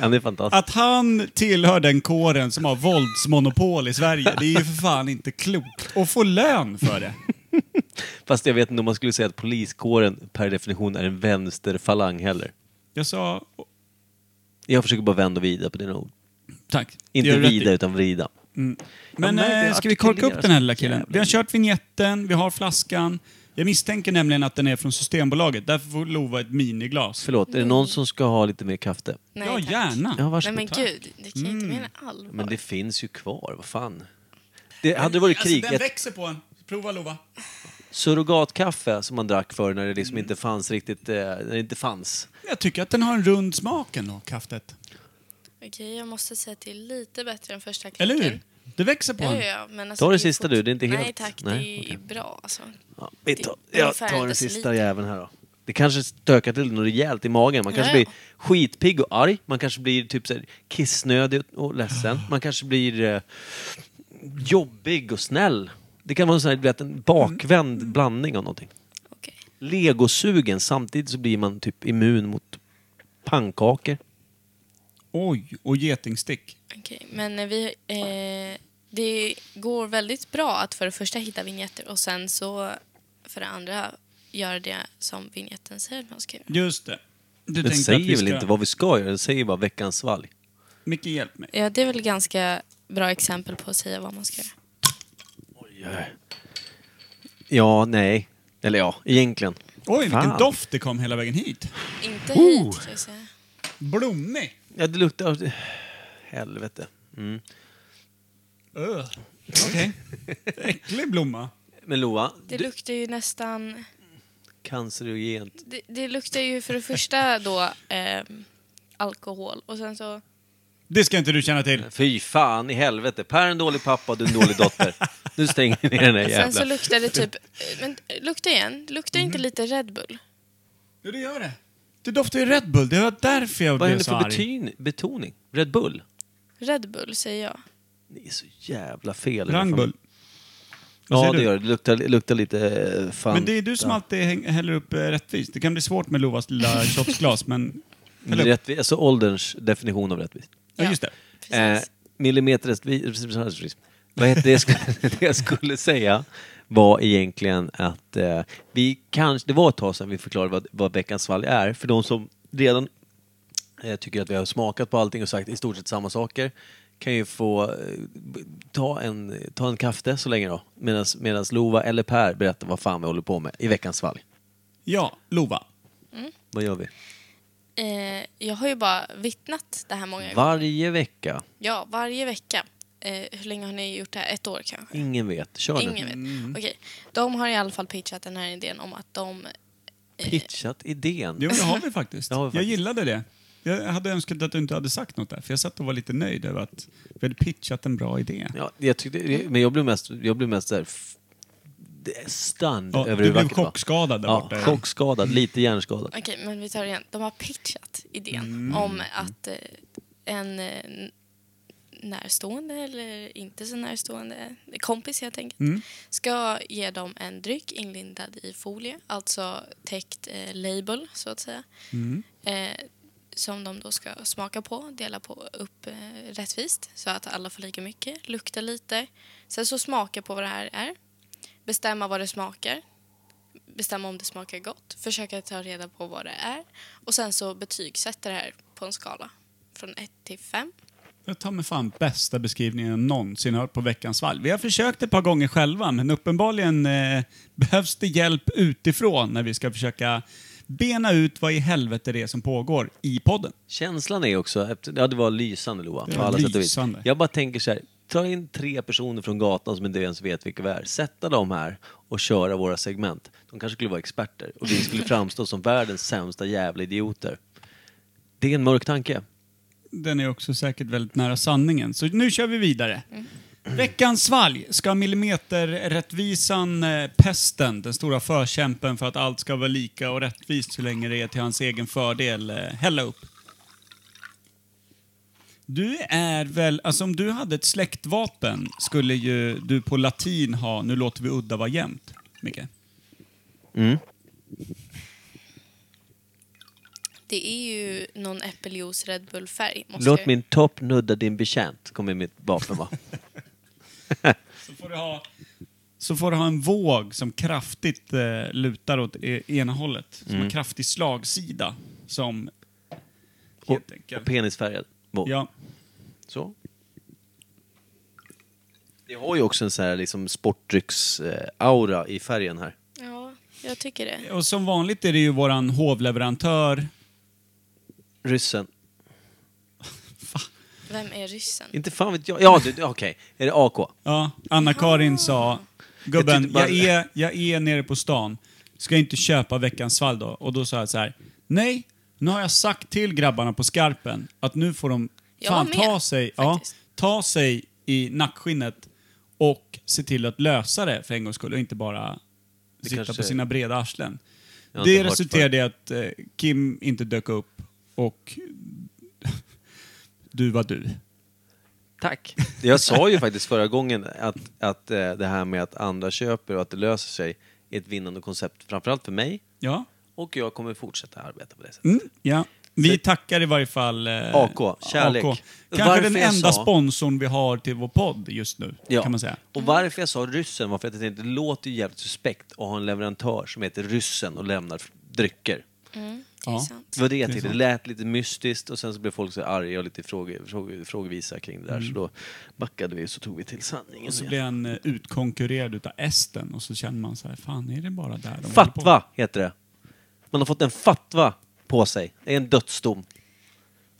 [SPEAKER 3] han är fantastisk.
[SPEAKER 4] Att han tillhör den kåren som har våldsmonopol i Sverige, det är ju för fan inte klokt. Och få lön för det.
[SPEAKER 3] Fast jag vet inte om man skulle säga att poliskåren per definition är en vänsterfalang heller.
[SPEAKER 4] Jag sa...
[SPEAKER 3] Jag försöker bara vända och vrida på dina ord.
[SPEAKER 4] Tack. Det
[SPEAKER 3] Inte
[SPEAKER 4] gör du rätt i. Mm.
[SPEAKER 3] vrida utan vrida.
[SPEAKER 4] Men
[SPEAKER 3] Ja, men det
[SPEAKER 4] eh, ska vi korka upp
[SPEAKER 3] artikuleras
[SPEAKER 4] den här lilla killen?
[SPEAKER 3] jävligt.
[SPEAKER 4] Vi har kört vignetten, vi har flaskan. Jag misstänker nämligen att den är från Systembolaget, därför får Lova ett miniglas.
[SPEAKER 3] Förlåt, är det någon som ska ha lite mer kaffe?
[SPEAKER 5] Nej,
[SPEAKER 4] ja,
[SPEAKER 5] tack.
[SPEAKER 4] gärna. Mm.
[SPEAKER 3] Ja,
[SPEAKER 5] Nej
[SPEAKER 3] varsågod.
[SPEAKER 5] men gud, det kan jag inte mena allvar.
[SPEAKER 3] Men det finns ju kvar, vad fan. Det, hade det varit krig,
[SPEAKER 4] Alltså, den
[SPEAKER 3] ett
[SPEAKER 4] växer på en. Prova Lova.
[SPEAKER 3] surrogatkaffe som man drack förr när det liksom inte fanns riktigt, eh, när det inte fanns.
[SPEAKER 4] Jag tycker att den har en rund smak ändå, kaffet.
[SPEAKER 5] Okej, jag måste säga att det är lite bättre än första
[SPEAKER 4] Eller
[SPEAKER 5] klicken.
[SPEAKER 4] hur? Det växer på
[SPEAKER 5] Ja,
[SPEAKER 4] en.
[SPEAKER 5] ja, ja, men alltså,
[SPEAKER 3] Ta det
[SPEAKER 5] är
[SPEAKER 3] sista
[SPEAKER 5] fort-
[SPEAKER 3] du, det är inte
[SPEAKER 5] Nej
[SPEAKER 3] helt-
[SPEAKER 5] tack,
[SPEAKER 3] Nej,
[SPEAKER 5] det är
[SPEAKER 3] okej.
[SPEAKER 5] bra alltså.
[SPEAKER 3] Ja, vi tar,
[SPEAKER 5] Det är
[SPEAKER 3] jag
[SPEAKER 5] ungefär
[SPEAKER 3] tar
[SPEAKER 5] en
[SPEAKER 3] den
[SPEAKER 5] deciliter.
[SPEAKER 3] sista jäveln här då. Det kanske stökar till något rejält i magen. Man kanske
[SPEAKER 5] Ja, ja.
[SPEAKER 3] blir skitpigg och arg. Man kanske blir typ så här kissnödig och- och ledsen. Man kanske blir eh, jobbig och snäll. Det kan vara en sån här, du vet, en bakvänd
[SPEAKER 5] Mm.
[SPEAKER 3] blandning av någonting.
[SPEAKER 5] Okej.
[SPEAKER 3] legosugen. Samtidigt så blir man typ immun mot pannkakor.
[SPEAKER 4] Oj, och getingstick.
[SPEAKER 5] Okej, men eh, vi, eh, det går väldigt bra att för det första hitta vignetter och sen så för det andra göra det som vignetten säger att man ska göra.
[SPEAKER 4] Just det. Du
[SPEAKER 3] Den
[SPEAKER 4] tänkte
[SPEAKER 3] säger
[SPEAKER 4] att vi
[SPEAKER 3] väl
[SPEAKER 4] ska-
[SPEAKER 3] inte vad vi ska göra, den säger bara veckans svalg.
[SPEAKER 4] Micke, hjälp mig.
[SPEAKER 5] Ja, det är väl ganska bra exempel på att säga vad man ska göra.
[SPEAKER 3] Ja, nej. Eller ja, egentligen.
[SPEAKER 4] Oj, vilken
[SPEAKER 3] Fan.
[SPEAKER 4] doft det kom hela vägen hit.
[SPEAKER 5] Inte hit, kan jag säga.
[SPEAKER 4] Blommig.
[SPEAKER 3] Ja, det luktar... av- Helvete. Mm.
[SPEAKER 4] Öh. Okej. Äcklig blomma.
[SPEAKER 3] Men Loa,
[SPEAKER 5] Det
[SPEAKER 3] du,
[SPEAKER 5] luktar ju nästan...
[SPEAKER 3] cancerogent.
[SPEAKER 5] Det, det luktar ju för det första då ehm, alkohol och sen så...
[SPEAKER 4] Det ska inte du känna till.
[SPEAKER 3] Fy fan i helvete. Per är en dålig pappa och du är en dålig dotter. Nu stänger vi ner den här
[SPEAKER 5] Sen så
[SPEAKER 3] jävla...
[SPEAKER 5] luktar det typ... eh, Men eh, lukta igen. Luktar inte lite Red Bull?
[SPEAKER 4] Ja, det gör det. Det doftar ju Red Bull. Det var därför jag
[SPEAKER 3] Vad är
[SPEAKER 4] blev
[SPEAKER 3] det
[SPEAKER 4] så
[SPEAKER 3] för
[SPEAKER 4] arg.
[SPEAKER 3] betyn, betoning? Red Bull?
[SPEAKER 5] Red Bull säger jag.
[SPEAKER 3] Det är så jävla fel.
[SPEAKER 4] Rangbull. Vad
[SPEAKER 3] liksom? Ja,
[SPEAKER 4] säger
[SPEAKER 3] det
[SPEAKER 4] du?
[SPEAKER 3] gör det. Det luktar, det luktar lite... eh, Fan.
[SPEAKER 4] Men det är du som alltid häng- häller upp eh, rättvist. Det kan bli svårt med Lovas lilla shotsglas, men... Häll upp.
[SPEAKER 3] Rättvis, alltså ålderns definition av rättvist.
[SPEAKER 4] Ja, just det.
[SPEAKER 3] Eh,
[SPEAKER 5] Precis.
[SPEAKER 3] Millimeterrättvis... Vad heter det? jag skulle- det jag skulle säga var egentligen att eh, vi kanske... Det var ett tag sedan vi förklarade vad, vad veckans svalg är. För de som redan eh, tycker att vi har smakat på allting och sagt i stort sett samma saker kan ju få eh, b- ta en, ta en kaffe så länge då. Medan Lova eller Per berättar vad fan vi håller på med i veckans svalg.
[SPEAKER 4] Ja, Lova.
[SPEAKER 3] Vad gör vi?
[SPEAKER 5] Eh, jag har ju bara vittnat det här många gånger.
[SPEAKER 3] Varje vecka.
[SPEAKER 5] Ja, varje vecka. Eh, hur länge har ni gjort det här? Ett år kanske?
[SPEAKER 3] Ingen vet. Kör nu.
[SPEAKER 5] Ingen vet. Okej. De har i alla fall pitchat den här idén om att de...
[SPEAKER 3] Pitchat idén.
[SPEAKER 4] Jo, det har vi faktiskt.
[SPEAKER 3] Det har vi
[SPEAKER 4] Jag
[SPEAKER 3] faktiskt.
[SPEAKER 4] gillade det. Jag hade önskat att du inte hade sagt något där, för jag satt och var lite nöjd över att vi hade pitchat en bra idé.
[SPEAKER 3] Ja, jag tyckte, men jag blev mest, jag blev mest där, f- stunned
[SPEAKER 4] Ja,
[SPEAKER 3] över
[SPEAKER 4] du
[SPEAKER 3] hur
[SPEAKER 4] blev
[SPEAKER 3] vackert det var.
[SPEAKER 4] chockskadad där
[SPEAKER 3] ja,
[SPEAKER 4] borta. Mm.
[SPEAKER 3] Chockskadad, lite hjärnskadad.
[SPEAKER 5] Okej, men vi tar det igen. De har pitchat idén om att eh, en eh, n- närstående eller inte så närstående kompis helt enkelt ska ge dem en dryck inlindad i folie, alltså täckt eh, label så att säga. Eh, som de då ska smaka på, dela på upp eh, rättvist så att alla får lika mycket, lukta lite. Sen så smaka på vad det här är, bestämma vad det smakar, bestämma om det smakar gott, försöka ta reda på vad det är och sen så betygsätta det här på en skala från 1 till 5.
[SPEAKER 4] Jag tar mig fan bästa beskrivningen jag någonsin hört på Veckans valv. Vi har försökt ett par gånger själva, men uppenbarligen eh, behövs det hjälp utifrån när vi ska försöka bena ut vad i helvete det är som pågår i podden.
[SPEAKER 3] Känslan är också, efter- ja det var lysande Loa.
[SPEAKER 4] Det
[SPEAKER 3] på
[SPEAKER 4] var
[SPEAKER 3] alla sätt och vis.
[SPEAKER 4] lysande.
[SPEAKER 3] Jag bara tänker så här, ta in tre personer från gatan som inte ens vet vilka vi är, sätta dem här och köra våra segment. De kanske skulle vara experter och vi skulle framstå som världens sämsta jävla idioter. Det är en mörk tanke.
[SPEAKER 4] Den är också säkert väldigt nära sanningen. Så nu kör vi vidare. Veckans svalg ska millimeterrättvisan eh, Pesten, den stora förkämpen för att allt ska vara lika och rättvist så länge det är till hans egen fördel, eh, hälla upp. Du är väl, alltså om du hade ett släktvapen skulle ju du på latin ha, nu låter vi udda vara jämnt, Micke.
[SPEAKER 5] Det är ju någon äppeljuice Red Bull-färg. måste
[SPEAKER 3] Låt
[SPEAKER 5] jag-
[SPEAKER 3] min topp nudda din betjänt, kommer mitt vapen vara.
[SPEAKER 4] Så får du ha, så får du ha en våg som kraftigt eh, lutar åt e- ena hållet. Som
[SPEAKER 3] Mm.
[SPEAKER 4] en kraftig slagsida. Som...
[SPEAKER 3] och,
[SPEAKER 4] Helt
[SPEAKER 3] och
[SPEAKER 4] enkelt.
[SPEAKER 3] penisfärgad. Bo.
[SPEAKER 4] Ja.
[SPEAKER 3] Så. Det har ju också en så här liksom sportdrycks-aura i färgen här.
[SPEAKER 5] Ja, jag tycker det.
[SPEAKER 4] Och som vanligt är det ju våran hovleverantör.
[SPEAKER 3] Ryssen.
[SPEAKER 5] Vem är ryssen?
[SPEAKER 3] Inte fan vet jag. Ja, du- du- okej. Är det AK?
[SPEAKER 4] Ja, Anna-Karin
[SPEAKER 5] Ah.
[SPEAKER 4] sa...
[SPEAKER 3] Jag
[SPEAKER 4] Gubben,
[SPEAKER 3] tyckte bara-
[SPEAKER 4] jag, är, jag är nere på stan. Ska jag inte köpa veckans fall då? Och då sa jag så här. Nej, nu har jag sagt till grabbarna på skarpen att nu får de
[SPEAKER 5] Jag
[SPEAKER 4] fan
[SPEAKER 5] var med,
[SPEAKER 4] ta sig, ja,
[SPEAKER 5] faktiskt.
[SPEAKER 4] ta sig i nackskinnet och se till att lösa det för en gångs skull och inte bara
[SPEAKER 3] Det
[SPEAKER 4] sitta på
[SPEAKER 3] kanske-
[SPEAKER 4] sina breda arslen.
[SPEAKER 3] Jag har inte
[SPEAKER 4] Det
[SPEAKER 3] hört
[SPEAKER 4] resulterade i att eh, Kim inte dök upp och du var du.
[SPEAKER 3] Tack. Jag sa ju faktiskt förra gången att, att eh, det här med att andra köper och att det löser sig är ett vinnande koncept, framförallt för mig.
[SPEAKER 4] Ja.
[SPEAKER 3] Och jag kommer fortsätta arbeta på det sättet.
[SPEAKER 4] Mm, ja. Vi tackar i varje fall eh,
[SPEAKER 3] AK, kärlek.
[SPEAKER 4] Kanske
[SPEAKER 3] Varför
[SPEAKER 4] den
[SPEAKER 3] jag
[SPEAKER 4] enda
[SPEAKER 3] sa-
[SPEAKER 4] sponsorn vi har till vår podd just nu, kan man säga.
[SPEAKER 3] Och varför jag sa ryssen var för att jag tänkte, det låter ju jävligt suspekt att ha en leverantör som heter ryssen och lämnar drycker.
[SPEAKER 5] Det är
[SPEAKER 4] Ja.
[SPEAKER 5] sant.
[SPEAKER 3] Det var det jag
[SPEAKER 4] Det är
[SPEAKER 3] tyckte. Det
[SPEAKER 4] sant.
[SPEAKER 3] lät lite mystiskt och sen så blev folk så arga och lite fråge, fråge, frågevisa kring det där. Så då backade vi och så tog vi till sanningen
[SPEAKER 4] Mm. Och så
[SPEAKER 3] igen.
[SPEAKER 4] blir han eh, utkonkurrerad utav esten och så känner man så här, fan är det bara där de håller på?
[SPEAKER 3] Fatwa heter det. Man har fått en fatwa på sig. Det är en dödsdom.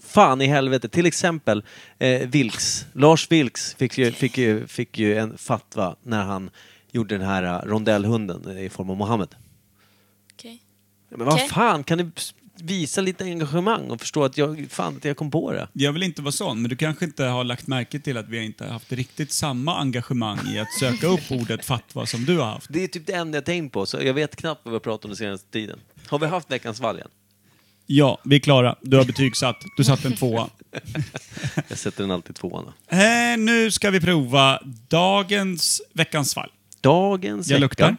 [SPEAKER 3] Fan i helvete. Till exempel eh, Vilks. Lars Vilks fick ju, fick, ju, fick ju en fatwa när han gjorde den här eh, rondellhunden eh, i form av Mohammed.
[SPEAKER 5] Okej.
[SPEAKER 3] Ja, Men vad
[SPEAKER 5] Okej.
[SPEAKER 3] fan, kan du s- visa lite engagemang och förstå att jag, fan, att jag kom på det?
[SPEAKER 4] Jag vill inte vara sån, men du kanske inte har lagt märke till att vi inte har haft riktigt samma engagemang i att söka upp ordet fatwa som du har haft.
[SPEAKER 3] Det är typ det enda jag tänkt på, så jag vet knappt vad vi har pratat om den senaste tiden. Har vi haft veckans valg än?
[SPEAKER 4] Ja, vi är klara. Du har betygsatt. Du satte en tvåa.
[SPEAKER 3] Jag sätter den alltid tvåan. då.
[SPEAKER 4] Eh, nu ska vi prova dagens Veckans fall.
[SPEAKER 3] Dagens
[SPEAKER 4] Jag
[SPEAKER 3] vecka.
[SPEAKER 4] luktar.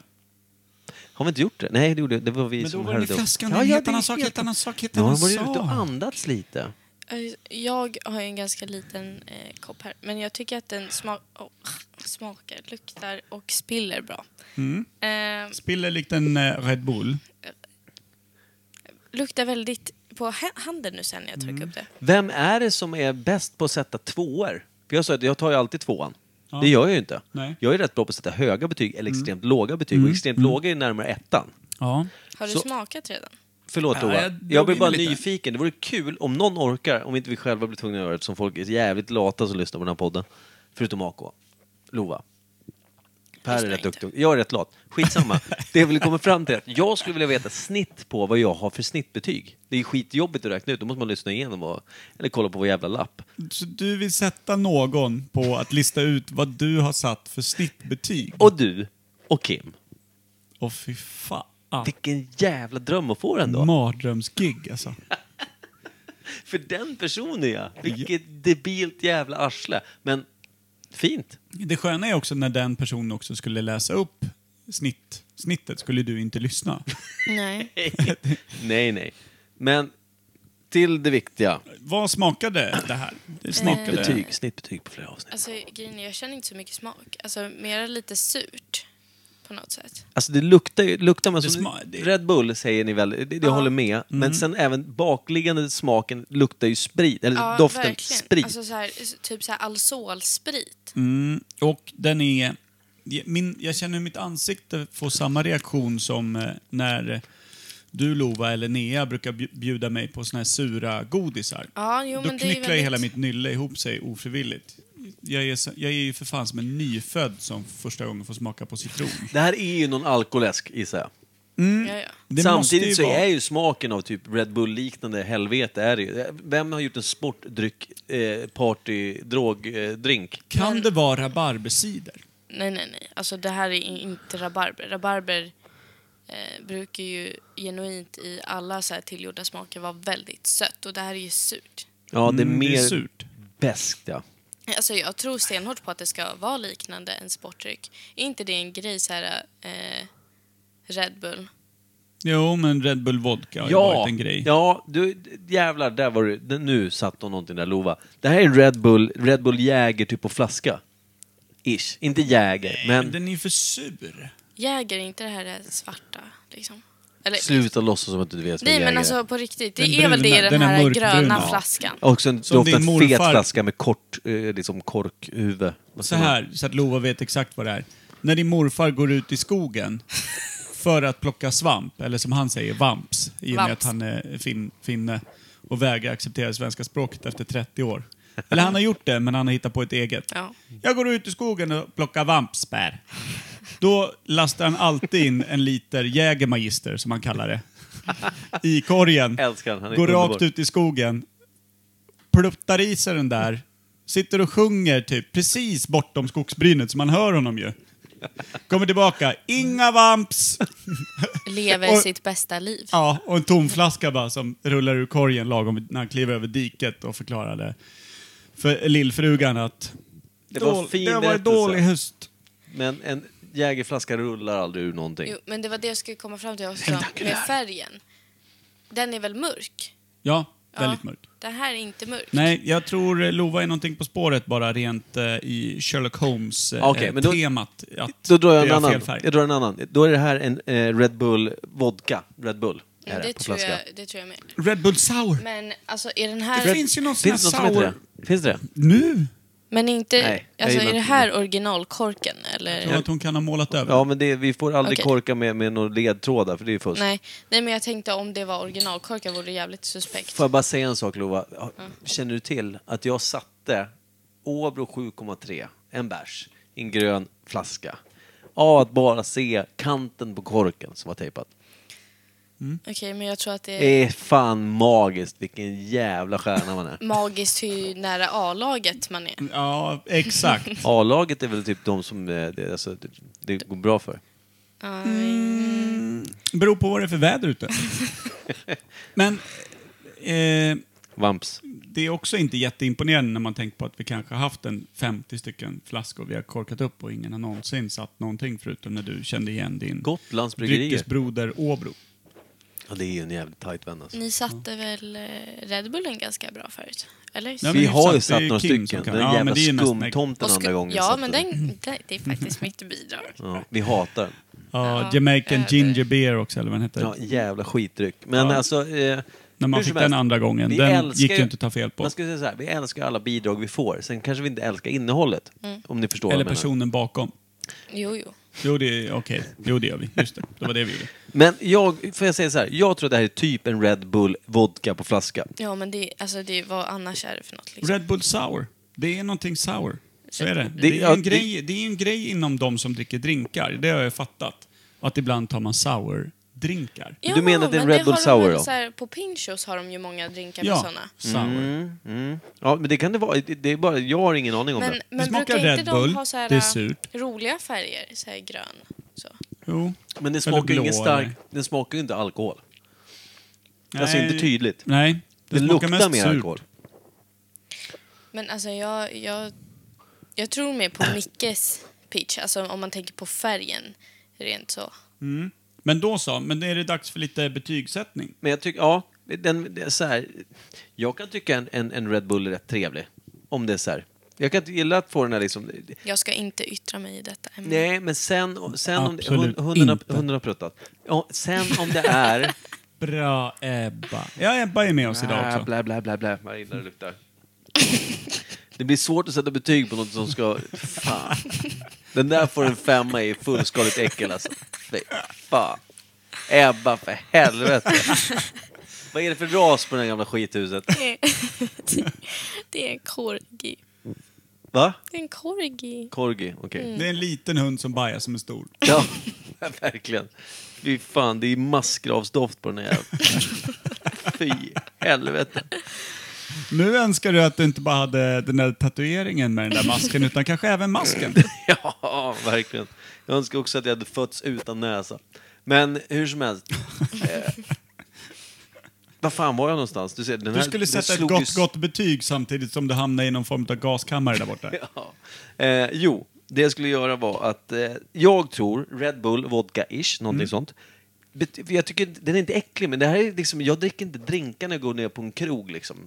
[SPEAKER 3] Har vi inte gjort det? Nej, det, gjorde, det var vi
[SPEAKER 4] Men då
[SPEAKER 3] som
[SPEAKER 4] var den i
[SPEAKER 3] upp.
[SPEAKER 4] flaskan. Det är en
[SPEAKER 3] ja,
[SPEAKER 4] helt
[SPEAKER 3] det
[SPEAKER 4] annan
[SPEAKER 3] är
[SPEAKER 4] sak,
[SPEAKER 3] helt-
[SPEAKER 4] helt annan sak, helt
[SPEAKER 3] Nu har
[SPEAKER 4] annan
[SPEAKER 3] man varit ute och
[SPEAKER 4] sak.
[SPEAKER 3] andats lite.
[SPEAKER 5] Eh, Jag har ju en ganska liten eh, kopp här, men jag tycker att den sma- oh, smakar, luktar och spiller bra. Eh,
[SPEAKER 4] Spiller likt en eh, Red Bull.
[SPEAKER 5] luktar väldigt på ha- handen nu sen när jag torkar upp det.
[SPEAKER 3] Vem är det som är bäst på att sätta tvåor? För jag sa att jag tar ju alltid tvåan. Det gör jag ju inte.
[SPEAKER 4] Nej. Mm.
[SPEAKER 3] Jag är rätt bra på att sätta höga betyg eller extremt låga betyg. Och extremt låga är närmare ettan.
[SPEAKER 4] Ja.
[SPEAKER 5] Har du
[SPEAKER 3] Så-
[SPEAKER 5] smakat redan?
[SPEAKER 3] Förlåt
[SPEAKER 4] Ja,
[SPEAKER 3] Tova,
[SPEAKER 4] jag
[SPEAKER 3] jag,
[SPEAKER 4] drog
[SPEAKER 3] jag blir
[SPEAKER 4] in
[SPEAKER 3] bara
[SPEAKER 4] lite.
[SPEAKER 3] nyfiken. Det vore kul om någon orkar, om inte vi själva blir tvungna att göra det, som folk är jävligt lata som lyssnar på den här podden. Förutom AK. Lova. Per är
[SPEAKER 5] Lyssnar
[SPEAKER 3] rätt
[SPEAKER 5] inte.
[SPEAKER 3] duktig. Jag är rätt lat. Skitsamma. det jag vill komma fram till är att jag skulle vilja veta snitt på vad jag har för snittbetyg. Det är skitjobbigt att räkna ut, då måste man lyssna igenom och, eller kolla på vår jävla lapp.
[SPEAKER 4] Så du vill sätta någon på att lista ut vad du har satt för snittbetyg?
[SPEAKER 3] Och du och Kim.
[SPEAKER 4] Åh fy fan.
[SPEAKER 3] Vilken jävla dröm att få den då.
[SPEAKER 4] Mardrömsgig alltså.
[SPEAKER 3] För den personen är jag. Vilket debilt jävla arsle. Men fint.
[SPEAKER 4] Det sköna är också när den personen också skulle läsa upp snitt, snittet skulle du inte lyssna.
[SPEAKER 5] Nej.
[SPEAKER 3] Nej, nej. Men till det viktiga.
[SPEAKER 4] Vad smakade det här? Det smakade...
[SPEAKER 3] Betyg, snittbetyg på flera avsnitt.
[SPEAKER 5] Alltså grejen är, jag känner inte så mycket smak. Alltså mera lite surt. på något sätt.
[SPEAKER 3] Alltså det luktar ju, luktar man
[SPEAKER 4] Det
[SPEAKER 3] som
[SPEAKER 4] sma- det- Mm.
[SPEAKER 3] Red Bull säger ni väl, det, det håller med. Men sen även bakliggande smaken luktar ju sprit, eller
[SPEAKER 5] Ja,
[SPEAKER 3] doften
[SPEAKER 5] verkligen.
[SPEAKER 3] sprit.
[SPEAKER 5] Alltså så här, typ så här alsolsprit.
[SPEAKER 4] Mm, och den är... Min, jag känner hur mitt ansikte får samma reaktion som eh, när du Lova eller Nea brukar bju- bjuda mig på såna här sura godisar.
[SPEAKER 5] Ja, jo,
[SPEAKER 4] Då
[SPEAKER 5] men det är ju
[SPEAKER 4] knycklar ju
[SPEAKER 5] väldigt-
[SPEAKER 4] hela mitt nylle ihop sig ofrivilligt. Jag är, så- jag är ju för fan som en nyfödd som första gången får smaka på citron.
[SPEAKER 3] Det här är ju någon alkoläsk gissar jag.
[SPEAKER 5] Ja, ja.
[SPEAKER 4] Det
[SPEAKER 3] Samtidigt
[SPEAKER 4] måste
[SPEAKER 3] så
[SPEAKER 4] ju vara-
[SPEAKER 3] är ju smaken av typ Red Bull-liknande helvete är det ju. Vem har gjort en sportdryck, eh, party, drog, eh, drink?
[SPEAKER 4] Kan det vara rabarbercider?
[SPEAKER 5] Nej, nej, nej. Alltså det här är inte rabarber. Rabarber eh, brukar ju genuint i alla så här tillgjorda smaker vara väldigt sött och det här är ju surt.
[SPEAKER 3] Ja, det är
[SPEAKER 4] Mm,
[SPEAKER 3] mer
[SPEAKER 4] det är surt.
[SPEAKER 3] beskt ja.
[SPEAKER 5] Alltså jag tror stenhårt på att det ska vara liknande en sportdryck. Är inte det en grej så här eh, Red Bull?
[SPEAKER 4] Jo, men Red Bull Vodka har ju
[SPEAKER 3] ja,
[SPEAKER 4] varit en grej.
[SPEAKER 3] ja, du, jävlar, där var du. Nu satt hon någonting där, Lova. Det här är en Red Bull, Red Bull Jäger typ på flaska. Ish. Inte Jäger, men
[SPEAKER 4] Men den är ju för sur.
[SPEAKER 5] Jäger, är inte det här det svarta liksom? Eller,
[SPEAKER 3] sluta låtsas som att du inte vet vad
[SPEAKER 5] Nej
[SPEAKER 3] Jäger
[SPEAKER 5] men
[SPEAKER 3] är.
[SPEAKER 5] alltså på riktigt, det
[SPEAKER 4] Den
[SPEAKER 5] är väl det i
[SPEAKER 4] bruna-
[SPEAKER 5] den,
[SPEAKER 4] den här
[SPEAKER 5] här
[SPEAKER 4] mörkbruna.
[SPEAKER 5] gröna
[SPEAKER 4] Ja.
[SPEAKER 5] flaskan?
[SPEAKER 3] Och sen
[SPEAKER 4] Som
[SPEAKER 3] doftar
[SPEAKER 4] din
[SPEAKER 3] en fet
[SPEAKER 4] morfar.
[SPEAKER 3] flaska med kort, eh, liksom korkhuvud. Vad
[SPEAKER 4] Så
[SPEAKER 3] ska man-
[SPEAKER 4] här, så att Lova vet exakt vad det är. När din morfar går ut i skogen för att plocka svamp, eller som han säger, vamps, i och med
[SPEAKER 5] Vamps.
[SPEAKER 4] att han är fin, finne och vägrar acceptera det svenska språket efter 30 år. Eller han har gjort det, men han har hittat på ett eget.
[SPEAKER 5] Ja.
[SPEAKER 4] Jag går ut i skogen och plockar vampsbär. Då lastar han alltid in en liter Jägermeister, som han kallar det, i korgen.
[SPEAKER 3] Älskar han, han är
[SPEAKER 4] går
[SPEAKER 3] underbar.
[SPEAKER 4] rakt ut i skogen, pluttar i sig den där, sitter och sjunger typ precis bortom skogsbrynet, så man hör honom ju. Kommer tillbaka, inga vamps!
[SPEAKER 5] Lever
[SPEAKER 4] Och-
[SPEAKER 5] sitt bästa liv.
[SPEAKER 4] Ja, och en tom flaska bara som rullar ur korgen lagom när han kliver över diket och förklarade för lillfrugan att
[SPEAKER 3] Det var
[SPEAKER 4] "Dål-
[SPEAKER 3] fin
[SPEAKER 4] det var en
[SPEAKER 3] berättelse."
[SPEAKER 4] dålig höst.
[SPEAKER 3] Men en Jägerflaska rullar aldrig ur någonting.
[SPEAKER 5] Jo, men det var det jag skulle komma fram till också, med färgen. Den är väl mörk?
[SPEAKER 4] Ja,
[SPEAKER 5] Ja.
[SPEAKER 4] väldigt mörk.
[SPEAKER 5] Den här är inte mörk.
[SPEAKER 4] Nej, jag tror eh, Lova är någonting på spåret bara rent eh, i Sherlock Holmes-temat. Eh,
[SPEAKER 3] Okej, men då-
[SPEAKER 4] temat, att
[SPEAKER 3] Då drar jag
[SPEAKER 4] det är
[SPEAKER 3] en annan.
[SPEAKER 4] fel färg.
[SPEAKER 3] Jag drar en annan. Då är det här en eh, Red Bull Vodka. Red Bull är
[SPEAKER 5] Mm,
[SPEAKER 3] det,
[SPEAKER 5] det,
[SPEAKER 3] på
[SPEAKER 5] tror
[SPEAKER 3] flaska.
[SPEAKER 5] jag, det tror jag med.
[SPEAKER 4] Red Bull Sour.
[SPEAKER 5] Men alltså är den här...
[SPEAKER 4] Det finns ju någon sån här
[SPEAKER 3] Finns det något som heter
[SPEAKER 4] sour...
[SPEAKER 3] det? Finns det det?
[SPEAKER 4] Nu?
[SPEAKER 5] Men inte...
[SPEAKER 3] Nej, jag
[SPEAKER 5] alltså
[SPEAKER 3] gillar
[SPEAKER 5] är det
[SPEAKER 3] inte
[SPEAKER 5] här originalkorken eller?
[SPEAKER 4] Jag tror att hon kan ha målat över.
[SPEAKER 3] Ja, men det, vi får aldrig
[SPEAKER 5] Okej.
[SPEAKER 3] korka med, med några ledtrådar, för det är ju fusk.
[SPEAKER 5] Nej. Nej, men jag tänkte om det var originalkorken vore det jävligt suspekt.
[SPEAKER 3] Får jag bara säga en sak, Lova? Ja,
[SPEAKER 5] Mm.
[SPEAKER 3] Känner du till att jag satte Åbro 7,3, en bärs, i en grön flaska? Ja, att bara se kanten på korken som var tejpad.
[SPEAKER 5] Eh. Okej, men jag tror att det är
[SPEAKER 3] Det är fan magiskt, vilken jävla stjärna man är.
[SPEAKER 5] magiskt hur nära A-laget man är.
[SPEAKER 4] Ja, exakt.
[SPEAKER 3] A-laget är väl typ de som eh, det, alltså, det, det går bra för.
[SPEAKER 4] Beror på vad det är för väder ute. men... Eh,
[SPEAKER 3] Vamps.
[SPEAKER 4] det är också inte jätteimponerande när man tänker på att vi kanske har haft en 50 stycken flaskor vi har korkat upp och ingen har någonsin satt någonting förutom när du kände igen din
[SPEAKER 3] Gotlands bryggerier.
[SPEAKER 4] dryckesbroder Åbro.
[SPEAKER 3] Ja, det är ju en jävligt tajt vän alltså.
[SPEAKER 5] Ni satte väl eh, Red Bullen ganska bra förut? Eller?
[SPEAKER 4] Ja, men
[SPEAKER 3] Vi har ju
[SPEAKER 4] hyfsat,
[SPEAKER 3] satt
[SPEAKER 4] det är
[SPEAKER 3] några
[SPEAKER 4] Kim som
[SPEAKER 3] stycken.
[SPEAKER 4] kan-
[SPEAKER 3] Den
[SPEAKER 4] Ja, men
[SPEAKER 3] jävla
[SPEAKER 4] det är ju nästan-
[SPEAKER 3] skumtomten
[SPEAKER 5] Och
[SPEAKER 3] andra
[SPEAKER 5] sku-
[SPEAKER 3] gången. Mm.
[SPEAKER 5] Ja,
[SPEAKER 3] satt
[SPEAKER 5] men
[SPEAKER 3] den.
[SPEAKER 5] den, det, det är faktiskt mitt bidrag.
[SPEAKER 3] Ja, vi hatar den.
[SPEAKER 4] Ja, Jamaican Ginger Beer också, eller vad den heter.
[SPEAKER 3] Ja, jävla skitdryck. Men
[SPEAKER 4] Ja.
[SPEAKER 3] alltså... Eh,
[SPEAKER 4] När man
[SPEAKER 3] hur som
[SPEAKER 4] fick den
[SPEAKER 3] helst,
[SPEAKER 4] andra gången,
[SPEAKER 3] vi
[SPEAKER 4] den
[SPEAKER 3] älskar
[SPEAKER 4] gick ju inte att ta fel på.
[SPEAKER 3] Man ska säga så här, vi älskar alla bidrag vi får. Sen kanske vi inte älskar innehållet. Om ni förstår
[SPEAKER 4] eller
[SPEAKER 3] vad jag menar.
[SPEAKER 4] personen bakom.
[SPEAKER 5] Jo, jo.
[SPEAKER 4] Jo, det är okej. Jo, det gör vi. Just det. Det var det vi gjorde.
[SPEAKER 3] Men jag, får jag säga så här, jag tror att det här är typ en Red Bull vodka på flaska.
[SPEAKER 5] Ja, men det, alltså, det, vad annars är det för något? Liksom?
[SPEAKER 4] Red Bull Sour. Det är någonting sour. Så är det. Det,
[SPEAKER 3] Det-
[SPEAKER 4] är,
[SPEAKER 3] ja,
[SPEAKER 4] en
[SPEAKER 3] det-
[SPEAKER 4] grej, det är en grej inom de som dricker drinkar. Det har jag fattat. Att ibland tar man sour-drinkar.
[SPEAKER 5] Ja,
[SPEAKER 3] Du menar att det är
[SPEAKER 5] men
[SPEAKER 3] en Red Bull
[SPEAKER 5] har de
[SPEAKER 3] Sour
[SPEAKER 5] väl
[SPEAKER 3] då?
[SPEAKER 5] Så här, på Pinchos har de ju många drinkar med
[SPEAKER 4] Ja,
[SPEAKER 5] sådana.
[SPEAKER 4] sour.
[SPEAKER 3] Mm. Ja, men det kan det vara. Det det är bara, jag har ingen aning om
[SPEAKER 5] Men,
[SPEAKER 3] det.
[SPEAKER 5] men
[SPEAKER 4] smakar
[SPEAKER 5] brukar
[SPEAKER 4] Red
[SPEAKER 5] inte
[SPEAKER 4] Bull,
[SPEAKER 5] de ha så här,
[SPEAKER 4] det är surt.
[SPEAKER 5] roliga färger? Så här grön? Så.
[SPEAKER 4] Jo.
[SPEAKER 3] Men den
[SPEAKER 4] Eller
[SPEAKER 3] smakar ju
[SPEAKER 4] blå,
[SPEAKER 3] ingen
[SPEAKER 4] eller?
[SPEAKER 3] stark... Den smakar ju inte alkohol. Alltså
[SPEAKER 4] Nej.
[SPEAKER 3] inte tydligt.
[SPEAKER 4] Nej.
[SPEAKER 3] Det,
[SPEAKER 4] smakar
[SPEAKER 3] luktar
[SPEAKER 4] mest
[SPEAKER 3] mer
[SPEAKER 4] surt.
[SPEAKER 3] alkohol.
[SPEAKER 5] Men alltså jag, jag, jag tror mer på Mickes pitch, alltså om man tänker på färgen rent så.
[SPEAKER 4] Men då så, men är det dags för lite betygssättning?
[SPEAKER 3] Men jag tycker, ja, den, det är så här, jag kan tycka en, en, en Red Bull är rätt trevlig. Om det är så här, Jag kan inte gilla att få den här liksom...
[SPEAKER 5] Jag ska inte yttra mig i detta ämne.
[SPEAKER 3] Nej, men sen... sen om,
[SPEAKER 4] Absolut
[SPEAKER 3] hund- hunden, har,
[SPEAKER 4] inte.
[SPEAKER 3] hunden har pruttat. Ja, sen om det är...
[SPEAKER 4] Bra Ebba. Ja, Ebba är med oss idag
[SPEAKER 3] Ah,
[SPEAKER 4] också.
[SPEAKER 3] Blä, blä, blä, blä. Vad illa det luktar. Det blir svårt att sätta betyg på något som ska... Fan. Den där får en femma i fullskaligt äckel alltså. Fy Fan. Ebba, för helvete. Vad är det för ras på det här gamla skithuset?
[SPEAKER 5] Det är- det är en korgi.
[SPEAKER 3] Va?
[SPEAKER 5] Det är en korgi.
[SPEAKER 3] Corgi, okej.
[SPEAKER 4] Det är en liten hund som bajar som är stor.
[SPEAKER 3] Ja, verkligen. Fy fan, det är massgravsdoft på den här jäveln. Fy helvete.
[SPEAKER 4] Nu önskar du att du inte bara hade den där tatueringen med den där masken, utan kanske även masken.
[SPEAKER 3] Ja, verkligen. Jag önskar också att jag hade fötts utan näsa. Men hur som helst. Eh, vad fan var jag någonstans? Du, ser, den
[SPEAKER 4] Du
[SPEAKER 3] här,
[SPEAKER 4] skulle
[SPEAKER 3] den
[SPEAKER 4] sätta ett
[SPEAKER 3] slog ju s-
[SPEAKER 4] gott, gott betyg samtidigt som du hamnade i någon form av gaskammare där borta.
[SPEAKER 3] Ja. Eh, jo, det jag skulle göra var att eh, jag tror Red Bull, vodka-ish,
[SPEAKER 4] Mm.
[SPEAKER 3] någonting sånt. Bet- Jag tycker den är inte äcklig, men det här är liksom, jag dricker inte drinkar när jag går ner på en krog. Liksom.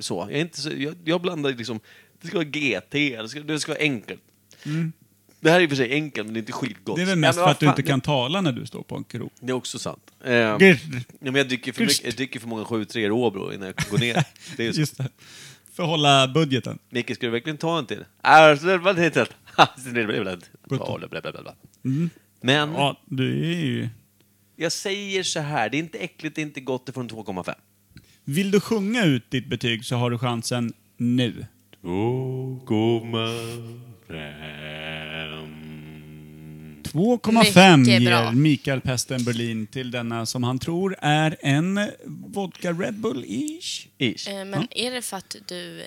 [SPEAKER 3] Så. Jag, är inte så, jag, jag blandar liksom, det ska vara GT, det ska, det ska vara enkelt. Det här är i och för sig enkelt, men det är inte skitgott.
[SPEAKER 4] Mm. Det är väl
[SPEAKER 3] Ja,
[SPEAKER 4] mest för
[SPEAKER 3] men vad
[SPEAKER 4] att du
[SPEAKER 3] fan,
[SPEAKER 4] inte kan tala när du står på en krog.
[SPEAKER 3] Det är också sant. Eh, ja, men jag, dricker för
[SPEAKER 4] Just.
[SPEAKER 3] mycket, jag dricker för många 7-3 Åbro innan jag går ner. Det är ju så.
[SPEAKER 4] Just det. För att hålla budgeten.
[SPEAKER 3] Micke, ska du verkligen ta en till? Alltså, det var hittills. Alltså, det blev det.
[SPEAKER 4] Sjutton.
[SPEAKER 3] Bla, bla, bla, bla. Men
[SPEAKER 4] Mm. Ja, du är ju...
[SPEAKER 3] jag säger så här, det är inte äckligt, det är inte gott, det får en 2,5.
[SPEAKER 4] Vill du sjunga ut ditt betyg så har du chansen nu.
[SPEAKER 5] Mycket
[SPEAKER 4] 2,5 ger
[SPEAKER 5] bra.
[SPEAKER 4] Mikael Pesten Berlin till denna som han tror är en vodka Red Bull-ish.
[SPEAKER 3] Ish.
[SPEAKER 5] Eh, Men är det för att du eh,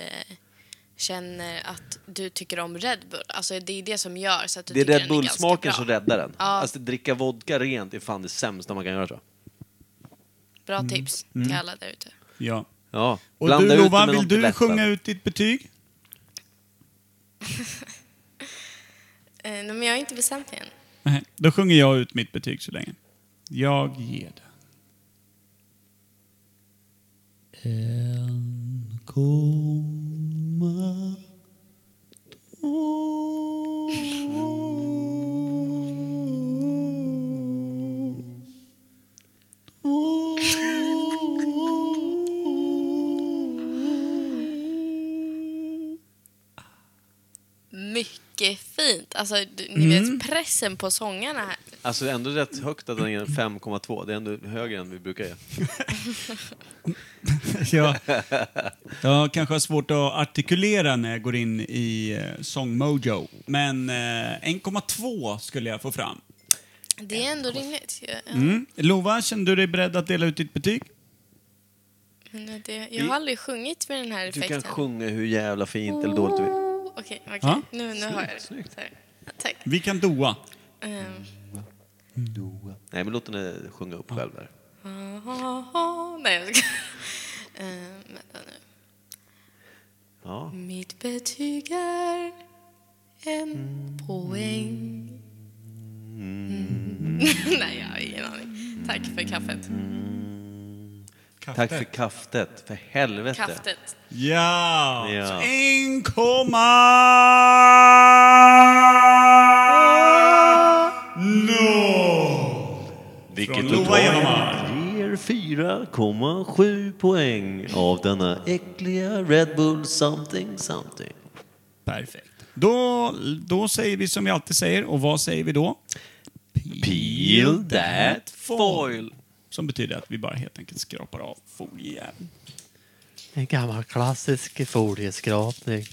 [SPEAKER 5] känner att du tycker om Red Bull? Alltså det är det som gör så att du
[SPEAKER 3] Det är
[SPEAKER 5] tycker
[SPEAKER 3] Red
[SPEAKER 5] den är ganska
[SPEAKER 3] Bull-smaken
[SPEAKER 5] bra.
[SPEAKER 3] som räddar den.
[SPEAKER 5] Ja.
[SPEAKER 3] Alltså dricka vodka rent är fan det sämsta man kan göra tror jag.
[SPEAKER 5] Bra
[SPEAKER 3] Mm.
[SPEAKER 5] tips till alla där ute.
[SPEAKER 4] Ja.
[SPEAKER 3] Ja.
[SPEAKER 4] Och
[SPEAKER 3] blanda ut
[SPEAKER 4] du
[SPEAKER 3] det
[SPEAKER 4] Lovan,
[SPEAKER 3] med
[SPEAKER 4] vill
[SPEAKER 3] något
[SPEAKER 4] du
[SPEAKER 3] lättare.
[SPEAKER 4] sjunga ut ditt betyg?
[SPEAKER 5] Eh, nej, men jag har inte bestämt mig än.
[SPEAKER 4] Nej, då sjunger jag ut mitt betyg så länge. Jag ger det.
[SPEAKER 5] Mycket fint. Alltså du, ni
[SPEAKER 3] Mm.
[SPEAKER 5] vet pressen på sångarna här.
[SPEAKER 3] Alltså ändå rätt högt att den ger en 5,2. Det är ändå högre än vi brukar ge.
[SPEAKER 4] Jag, jag kanske har svårt att artikulera när jag går in i eh, sångmojo. Men eh, 1,2 skulle jag få fram.
[SPEAKER 5] Det är ändå rimligt. Jag, ja.
[SPEAKER 4] Mm. Lova, känner du dig beredd att dela ut ditt betyg?
[SPEAKER 5] Men det, jag har aldrig sjungit med den här
[SPEAKER 3] Du kan
[SPEAKER 5] effekten.
[SPEAKER 3] sjunga hur jävla fint eller dåligt du vill.
[SPEAKER 5] Okej, okej.
[SPEAKER 4] Ja.
[SPEAKER 5] Nu, nu har jag det. Så här. Tack.
[SPEAKER 4] Vi kan doa.
[SPEAKER 5] Ehm,
[SPEAKER 3] Nej, men låt henne sjunga upp själv där.
[SPEAKER 5] Nej, jag ska... Ehm, vänta nu.
[SPEAKER 3] Ja.
[SPEAKER 5] Mitt betyg är en poäng. Mm. Nej, jag har ingen aning. Tack för kaffet.
[SPEAKER 3] Tack för kaftet. För helvete.
[SPEAKER 5] Kaffet.
[SPEAKER 4] Ja!
[SPEAKER 3] Ja.
[SPEAKER 4] Så 1,0!
[SPEAKER 3] Vilket
[SPEAKER 4] Från Lova
[SPEAKER 3] totalt ger 4,7 poäng av denna äckliga Red Bull something something.
[SPEAKER 4] Perfekt. Då, då säger vi som vi alltid säger, och vad säger vi då?
[SPEAKER 3] Peel that foil.
[SPEAKER 4] Som betyder att vi bara helt enkelt skrapar av foliejäveln.
[SPEAKER 3] En gammal klassisk folieskrapning.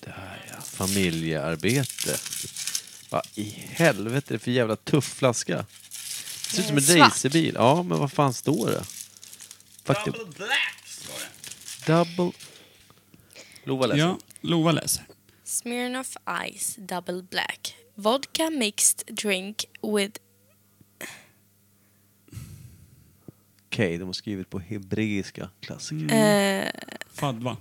[SPEAKER 3] Där ja, familjearbete. Vad i helvete är det för jävla tuff flaska? Det ser ut som
[SPEAKER 5] Eh,
[SPEAKER 3] en
[SPEAKER 5] svart.
[SPEAKER 3] racerbil. Ja, men vad fan står det? Faktum. Double black står det. Double... Lova läser.
[SPEAKER 4] Ja, Lova läser.
[SPEAKER 5] Smirnoff Ice Double Black. Vodka mixed drink with...
[SPEAKER 3] Okej, de har skrivit på hebreiska klassiker.
[SPEAKER 5] eh,
[SPEAKER 4] Fadva.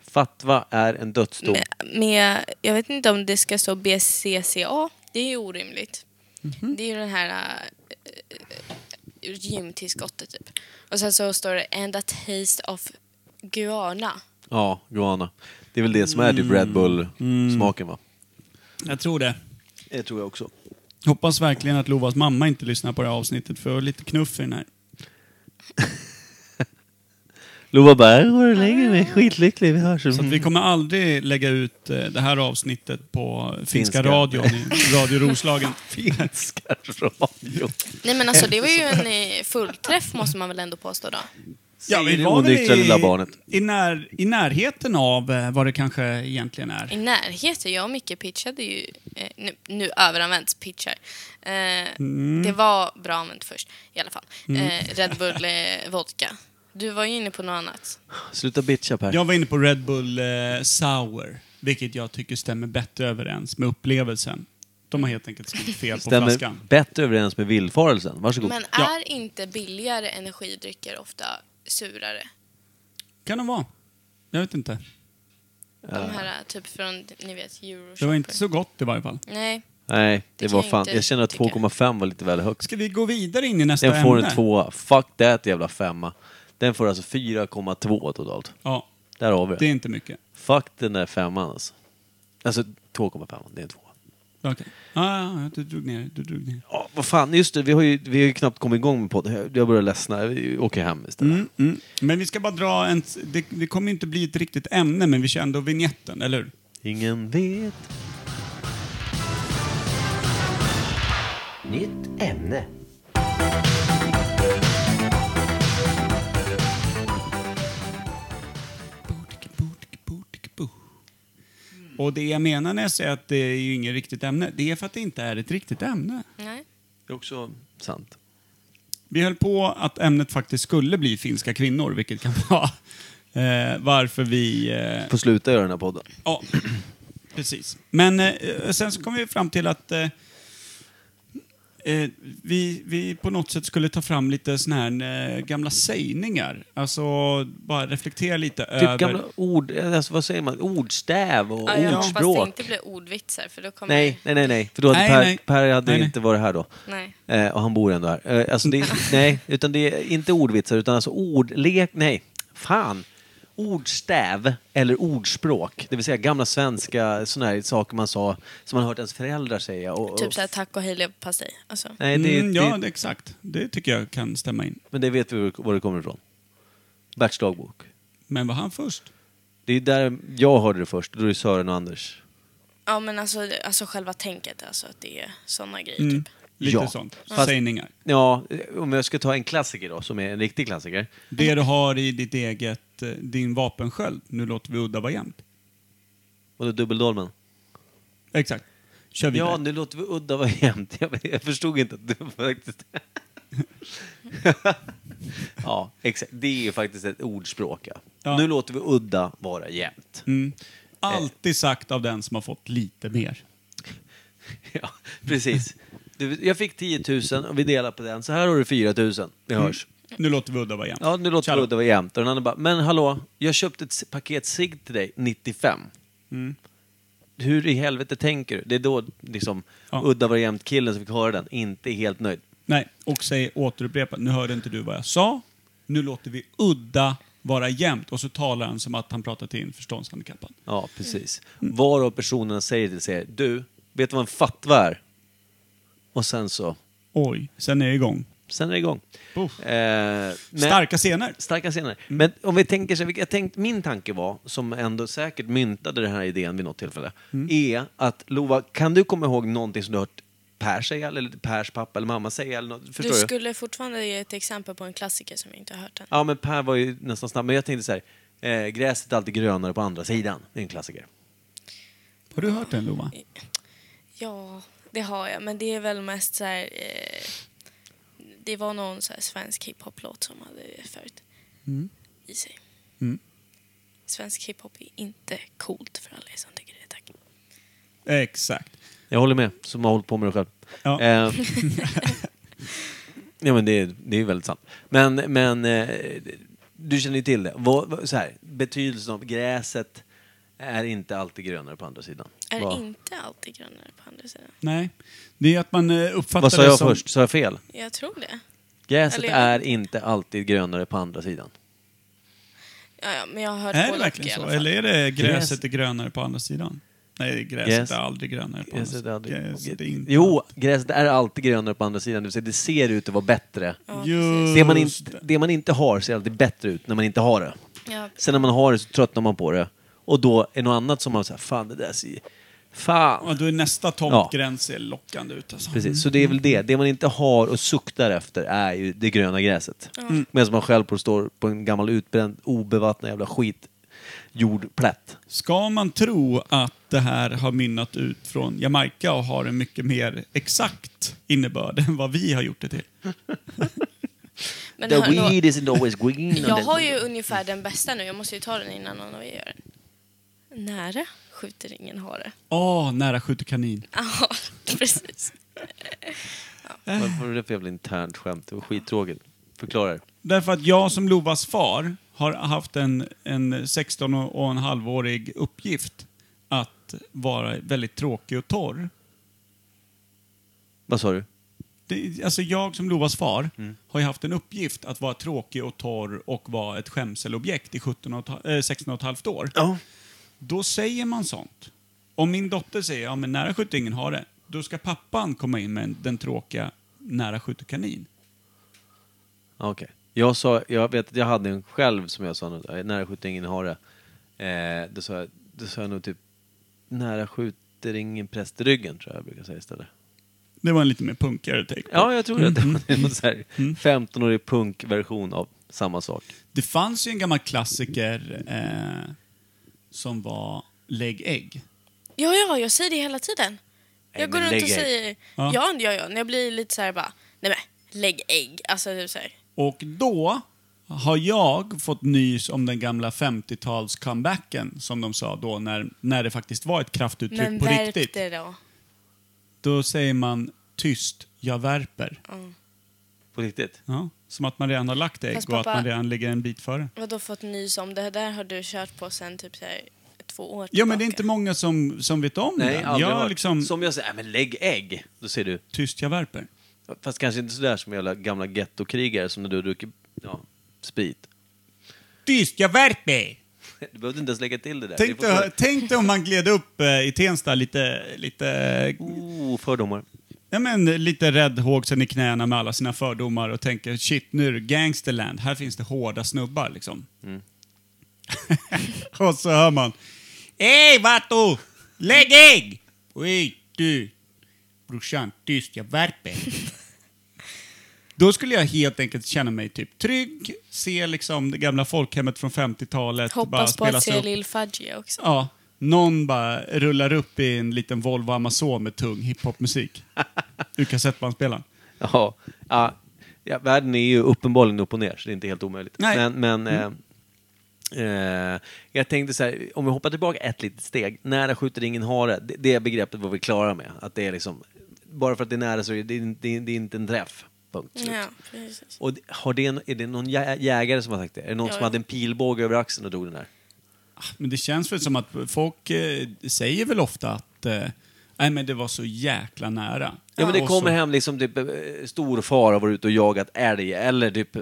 [SPEAKER 3] Fatwa är en dödsdom.
[SPEAKER 5] med, med, jag vet inte om det ska stå BCCA. Det är ju orimligt. Det är ju den här eh, äh, gymtillskottet typ. Och sen så står det And a taste of guana.
[SPEAKER 3] Ja, Guana. Det är väl det som är typ Red Bull-smaken va?
[SPEAKER 4] Jag tror det.
[SPEAKER 3] Det tror jag också.
[SPEAKER 4] Hoppas verkligen att Lovas mamma inte lyssnar på det här avsnittet för jag har lite knuff i den här.
[SPEAKER 3] Lova bara, "Jag går och lägger mig. Skitlycklig, vi hörs.
[SPEAKER 4] Så att vi kommer aldrig lägga ut eh, det här avsnittet på finska,
[SPEAKER 3] Finska.
[SPEAKER 4] radion i Radio Roslagen.
[SPEAKER 3] Finska radion.
[SPEAKER 5] Nej men alltså det var ju en eh, fullträff måste man väl ändå påstå då.
[SPEAKER 4] Ja,
[SPEAKER 3] Säger det onyktra lilla barnet.
[SPEAKER 4] i, när, i närheten av eh, vad det kanske egentligen är.
[SPEAKER 5] I närheten, jag och Micke pitchade ju, eh, nu, nu överanvänds pitchar. Eh, Det var bra använt först i alla fall. Eh, Red Bull eh, vodka. Du var ju inne på något annat.
[SPEAKER 3] Sluta bitcha Per.
[SPEAKER 4] Jag var inne på Red Bull eh, Sour, vilket jag tycker stämmer bättre överens med upplevelsen. De har helt enkelt skrivit fel på flaskan.
[SPEAKER 3] Stämmer bättre överens med villfarelsen. Varsågod.
[SPEAKER 5] Men
[SPEAKER 4] Ja.
[SPEAKER 5] är inte billigare energidrycker ofta surare?
[SPEAKER 4] Kan de vara? Jag vet inte.
[SPEAKER 5] De här eh, typ från, ni vet, Euroshopper.
[SPEAKER 4] Det var inte så gott i varje fall.
[SPEAKER 5] Nej.
[SPEAKER 3] Nej, det,
[SPEAKER 5] Det kan
[SPEAKER 3] var
[SPEAKER 5] jag
[SPEAKER 3] fan.
[SPEAKER 5] inte
[SPEAKER 3] Jag känner att
[SPEAKER 5] tycka.
[SPEAKER 3] 2,5 var lite väl högt.
[SPEAKER 4] Ska vi gå vidare in i nästa
[SPEAKER 3] Den får
[SPEAKER 4] ämne?
[SPEAKER 3] en tvåa. Fuck that jävla femma. Den får alltså 4,2 totalt.
[SPEAKER 4] Ja,
[SPEAKER 3] Där har vi
[SPEAKER 4] det är
[SPEAKER 3] det.
[SPEAKER 4] inte mycket.
[SPEAKER 3] Fuck den där femman alltså. Alltså 2,5, det är en tvåa.
[SPEAKER 4] Okej. Ja, ja, ja, du drog ner. Du drog ner.
[SPEAKER 3] Ja, vad fan, just det, vi har ju, vi har ju knappt kommit igång med podden. Jag- Jag börjar ledsna, vi åker hem istället.
[SPEAKER 4] Mm. Men vi ska bara dra en... Det, det kommer ju inte bli ett riktigt ämne, men vi kör ändå vignetten, eller hur?
[SPEAKER 3] Ingen vet.
[SPEAKER 11] Nytt ämne.
[SPEAKER 4] Mm. Och det jag menar när jag säger att det är ju inget riktigt ämne, det är för att det inte är ett riktigt ämne.
[SPEAKER 5] Nej.
[SPEAKER 3] Det är också sant.
[SPEAKER 4] Vi höll på att ämnet faktiskt skulle bli finska kvinnor, vilket kan vara eh, varför vi... Eh,
[SPEAKER 3] Får sluta göra den här podden.
[SPEAKER 4] ja, precis. Men eh, sen så kom vi fram till att eh, eh, vi, vi på något sätt skulle ta fram lite såna här eh, gamla sägningar. Alltså, bara reflektera lite över...
[SPEAKER 3] Typ gamla ord, alltså, vad säger man, ordstäv och
[SPEAKER 5] Ja, jag hoppas det
[SPEAKER 3] ordspråk.
[SPEAKER 5] inte blir ordvitsar för då kommer...
[SPEAKER 3] Nej, nej, nej, nej. För då hade
[SPEAKER 4] Nej,
[SPEAKER 3] per,
[SPEAKER 4] nej.
[SPEAKER 3] per hade
[SPEAKER 4] Nej, nej.
[SPEAKER 3] inte varit här då.
[SPEAKER 5] Nej.
[SPEAKER 3] Eh, och han bor ändå här. Eh, alltså det, nej, utan det är inte ordvitsar, utan alltså ordlek... Nej, fan! Ordstäv eller ordspråk, det vill säga gamla svenska såna här saker man sa som man hört ens föräldrar säga. Och,
[SPEAKER 5] Typ
[SPEAKER 3] och,
[SPEAKER 5] såhär tack och hej leverpastej. Alltså.
[SPEAKER 3] nej, det,
[SPEAKER 4] mm,
[SPEAKER 3] det,
[SPEAKER 4] ja, det, exakt. Det tycker jag kan stämma in.
[SPEAKER 3] Men det vet vi var det kommer ifrån. Berts dagbok.
[SPEAKER 4] Men var han först?
[SPEAKER 3] Det är där jag hörde det först, då är det Sören och Anders.
[SPEAKER 5] Ja men alltså, det- alltså själva tänket, alltså att det är såna grejer
[SPEAKER 4] Mm.
[SPEAKER 5] typ.
[SPEAKER 4] Lite
[SPEAKER 3] Ja.
[SPEAKER 4] sånt.
[SPEAKER 3] Fast-
[SPEAKER 4] Sägningar.
[SPEAKER 3] Ja, eh, om jag ska ta en klassiker då, som är en riktig klassiker.
[SPEAKER 4] Det du har i ditt eget, eh, din vapensköld, nu låter vi udda vara jämnt.
[SPEAKER 3] Och då dubbeldolmen.
[SPEAKER 4] Exakt. Kör vidare.
[SPEAKER 3] Ja, nu låter vi udda vara jämnt. Jag, jag förstod inte att du faktiskt... ja, exakt. Det är faktiskt ett ordspråk. Ja.
[SPEAKER 4] Ja.
[SPEAKER 3] Nu låter vi udda vara jämnt.
[SPEAKER 4] Mm. Alltid sagt av den som har fått lite mer.
[SPEAKER 3] Ja, precis. Du, jag fick 10 000 och vi delar på den. Så här har du 4 000. Vi hörs.
[SPEAKER 4] Nu låter vi udda vara jämnt.
[SPEAKER 3] Ja, nu låter det
[SPEAKER 4] Tjallo.
[SPEAKER 3] udda vara jämnt. Och den andra bara, men hallå, jag köpte ett s- paket cigg till dig, 95.
[SPEAKER 4] Mm.
[SPEAKER 3] Hur i helvete tänker du? Det är då liksom
[SPEAKER 4] Ja.
[SPEAKER 3] udda vara jämnt-killen som fick höra den inte är helt nöjd.
[SPEAKER 4] Nej, och säg återupprepa. Nu hörde inte du vad jag sa. Nu låter vi udda vara jämnt. Och så talar han som att han pratar till en förståndshandikappad.
[SPEAKER 3] Ja, precis.
[SPEAKER 4] Mm.
[SPEAKER 3] Var av personerna säger till sig, du, vet du vad en fatwa är? Och sen så,
[SPEAKER 4] Oj, sen är jag igång.
[SPEAKER 3] sen är det igång.
[SPEAKER 4] Puff.
[SPEAKER 3] Eh, men-
[SPEAKER 4] Starka scener.
[SPEAKER 3] Starka scener. Men om vi tänker så här, jag tänkt, min tanke var, som ändå säkert myntade den här idén vid något tillfälle, är att Lova, kan du komma ihåg någonting som du hört Per säga, eller Pers pappa eller mamma säga? Eller något, förstår
[SPEAKER 5] du
[SPEAKER 3] du?
[SPEAKER 5] skulle fortfarande ge ett exempel på en klassiker som jag inte har hört än.
[SPEAKER 3] Ja, men Per var ju nästan snabb. Men jag tänkte så här, eh, gräset är alltid grönare på andra sidan. Det är en klassiker.
[SPEAKER 4] Har du hört den, Lova?
[SPEAKER 5] Ja, det har jag. Men det är väl mest så här... Eh, det var någon så här svensk hiphop-låt som hade det förut
[SPEAKER 4] Mm.
[SPEAKER 5] i sig. Svensk hiphop är inte coolt för alla er som tycker det. Tack.
[SPEAKER 4] Exakt.
[SPEAKER 3] Jag håller med, som har hållit på med det själv.
[SPEAKER 4] Ja.
[SPEAKER 3] Eh, ja, men det, är- det är väldigt sant. Men, men eh, du känner ju till det. Vad, vad, så här, betydelsen av gräset är inte alltid grönare på andra sidan.
[SPEAKER 5] Är
[SPEAKER 3] Vad-
[SPEAKER 5] inte alltid grönare på andra sidan.
[SPEAKER 4] Nej. Det är att man eh, uppfattar
[SPEAKER 3] Vad sa
[SPEAKER 4] det
[SPEAKER 3] jag
[SPEAKER 4] som...
[SPEAKER 3] först? Sa jag fel?
[SPEAKER 5] Jag tror det.
[SPEAKER 3] Gräset
[SPEAKER 5] Eller-
[SPEAKER 3] är inte alltid grönare på andra sidan.
[SPEAKER 5] Ja, ja, men jag har hört
[SPEAKER 4] Är det
[SPEAKER 5] både och i
[SPEAKER 4] verkligen så?
[SPEAKER 5] alla fall.
[SPEAKER 4] Eller är det gräset
[SPEAKER 3] Gräs.
[SPEAKER 4] är grönare på andra sidan? Nej, gräset
[SPEAKER 3] Gräs.
[SPEAKER 4] är aldrig grönare på
[SPEAKER 3] Gräset är
[SPEAKER 4] andra
[SPEAKER 3] aldrig-
[SPEAKER 4] sidan. Gräset är inte
[SPEAKER 3] Jo, gräset är alltid grönare på andra sidan. Det vill säga, det ser ut att vara bättre.
[SPEAKER 4] Just
[SPEAKER 3] Det man, in, det man inte har ser alltid bättre ut när man inte har det.
[SPEAKER 5] Ja,
[SPEAKER 3] Sen när man har det så tröttnar man på det. Och då är det något annat som man säger, fan det där ser... Fan!
[SPEAKER 4] Ja, då är nästa tomtgräns ser lockande ut alltså.
[SPEAKER 3] Precis, så det är väl det. Det man inte har och suktar efter är ju det gröna gräset. Medan man själv på- står på en gammal utbränd, obevattnad jävla skitjordplätt.
[SPEAKER 4] Ska man tro att det här har mynnat ut från Jamaica och har en mycket mer exakt innebörd än vad vi har gjort det till?
[SPEAKER 5] men
[SPEAKER 3] The
[SPEAKER 5] har- då-
[SPEAKER 3] weed isn't always green.
[SPEAKER 5] Jag har ju ungefär den bästa nu. Jag måste ju ta den innan någon av er gör den. Nära skjuter ingen hare.
[SPEAKER 4] Åh, nära skjuter kanin.
[SPEAKER 5] Ja, precis.
[SPEAKER 3] Varför är det för jävla internt skämt? Det var skittråkigt. Förklara det.
[SPEAKER 4] Därför att jag som Lovas far har haft en, en 16 och en halvårig uppgift att vara väldigt tråkig och torr.
[SPEAKER 3] Vad sa du?
[SPEAKER 4] Det, alltså jag som Lovas far
[SPEAKER 3] Mm.
[SPEAKER 4] har ju haft en uppgift att vara tråkig och torr och vara ett skämselobjekt i 17 och, ett ha- eh, 16 och ett halvt år.
[SPEAKER 3] Ja.
[SPEAKER 4] Då säger man sånt. Om min dotter säger ja men nära skjuter ingen har det, då ska pappan komma in med den tråkiga nära skjuter kanin.
[SPEAKER 3] Okej. Jag sa, jag vet att jag hade en själv som jag sa, något, eh, nära skjuter ingen hare. Eh, då, sa jag, då sa jag nog typ, nära skjuter ingen präst i ryggen, tror jag jag brukar säga istället.
[SPEAKER 4] Det var en lite mer punkigare take. på det.
[SPEAKER 3] Ja, jag tror att det Mm. var en så här 15-årig punkversion av samma sak.
[SPEAKER 4] Det fanns ju en gammal klassiker eh, som var Lägg ägg.
[SPEAKER 5] Ja, ja, jag säger det hela tiden.
[SPEAKER 3] Nej,
[SPEAKER 5] jag
[SPEAKER 3] men
[SPEAKER 5] går runt
[SPEAKER 3] lägg
[SPEAKER 5] och
[SPEAKER 3] ägg.
[SPEAKER 5] säger
[SPEAKER 4] Ja.
[SPEAKER 5] ja. ja, ja, När jag blir lite så här bara, nej men lägg ägg. Alltså typ så här.
[SPEAKER 4] Och då har jag fått nys om den gamla 50-tals comebacken som de sa då när, när det faktiskt var ett kraftuttryck
[SPEAKER 5] Men
[SPEAKER 4] på
[SPEAKER 5] värp
[SPEAKER 4] riktigt.
[SPEAKER 5] det då.
[SPEAKER 4] Då säger man tyst, jag värper.
[SPEAKER 3] På riktigt?
[SPEAKER 4] Ja, som att man redan har lagt ägg
[SPEAKER 5] Fast
[SPEAKER 4] och att
[SPEAKER 5] pappa-
[SPEAKER 4] man redan ligger en bit före.
[SPEAKER 5] Vadå fått nys om? Det där har du kört på sen typ så här, två år
[SPEAKER 4] Ja, men det är inte
[SPEAKER 5] tillbaka.
[SPEAKER 4] många som, som vet om
[SPEAKER 3] Nej,
[SPEAKER 4] den.
[SPEAKER 3] aldrig
[SPEAKER 4] Jag
[SPEAKER 3] hört.
[SPEAKER 4] liksom,
[SPEAKER 3] Som jag säger, "Nej, men lägg ägg. Då säger du,
[SPEAKER 4] tyst, jag värper.
[SPEAKER 3] fast kanske inte sådär som jävla gamla gettokrigare som när du dricker ja, sprit.
[SPEAKER 4] Tyst, jag värper!
[SPEAKER 3] Du behövde inte ens lägga till det där.
[SPEAKER 4] Tänk
[SPEAKER 3] Det är
[SPEAKER 4] dig, tänk dig om man gled upp eh, i Tensta lite, lite
[SPEAKER 3] fortfarande- Oh, fördomar.
[SPEAKER 4] Ja, men lite räddhågsen i knäna med alla sina fördomar och tänker shit, nu är det gangsterland. Här finns det hårda snubbar liksom. och så hör man. Ey Vato! Lägg ägg! Oj, du. Brorsan, tyst, jag värper. Då skulle jag helt enkelt känna mig typ trygg, se liksom det gamla folkhemmet från 50-talet. bara
[SPEAKER 5] Hoppas på att
[SPEAKER 4] spelas
[SPEAKER 5] se
[SPEAKER 4] upp.
[SPEAKER 5] Lill Fudgy också.
[SPEAKER 4] Ja, någon bara rullar upp i en liten Volvo Amazon med tung hiphopmusik. Ur kassettbandspelaren.
[SPEAKER 3] Ja, ja, ja, världen är ju uppenbarligen upp och ner, så det är inte helt omöjligt.
[SPEAKER 4] Nej.
[SPEAKER 3] Men, men eh, eh, jag tänkte så här, om vi hoppar tillbaka ett litet steg. Nära skjuter ingen hare, det, det begreppet var vi klara med. Att det är liksom, bara för att det är nära så är det, det, det är inte en träff. Punkt. slut.
[SPEAKER 5] Ja, precis.
[SPEAKER 3] Och det- har det, är det någon jä- jägare som har sagt det? Är det någon
[SPEAKER 5] Ja,
[SPEAKER 3] som
[SPEAKER 5] ja.
[SPEAKER 3] hade en pilbåge över axeln och drog den där?
[SPEAKER 4] Ah, Men det känns väl som att folk eh, säger väl ofta att eh, nej men det var så jäkla nära.
[SPEAKER 3] Ja, men det
[SPEAKER 4] Och
[SPEAKER 3] kommer
[SPEAKER 4] så,
[SPEAKER 3] hem liksom typ eh, storfar har varit ute och jagat älg eller typ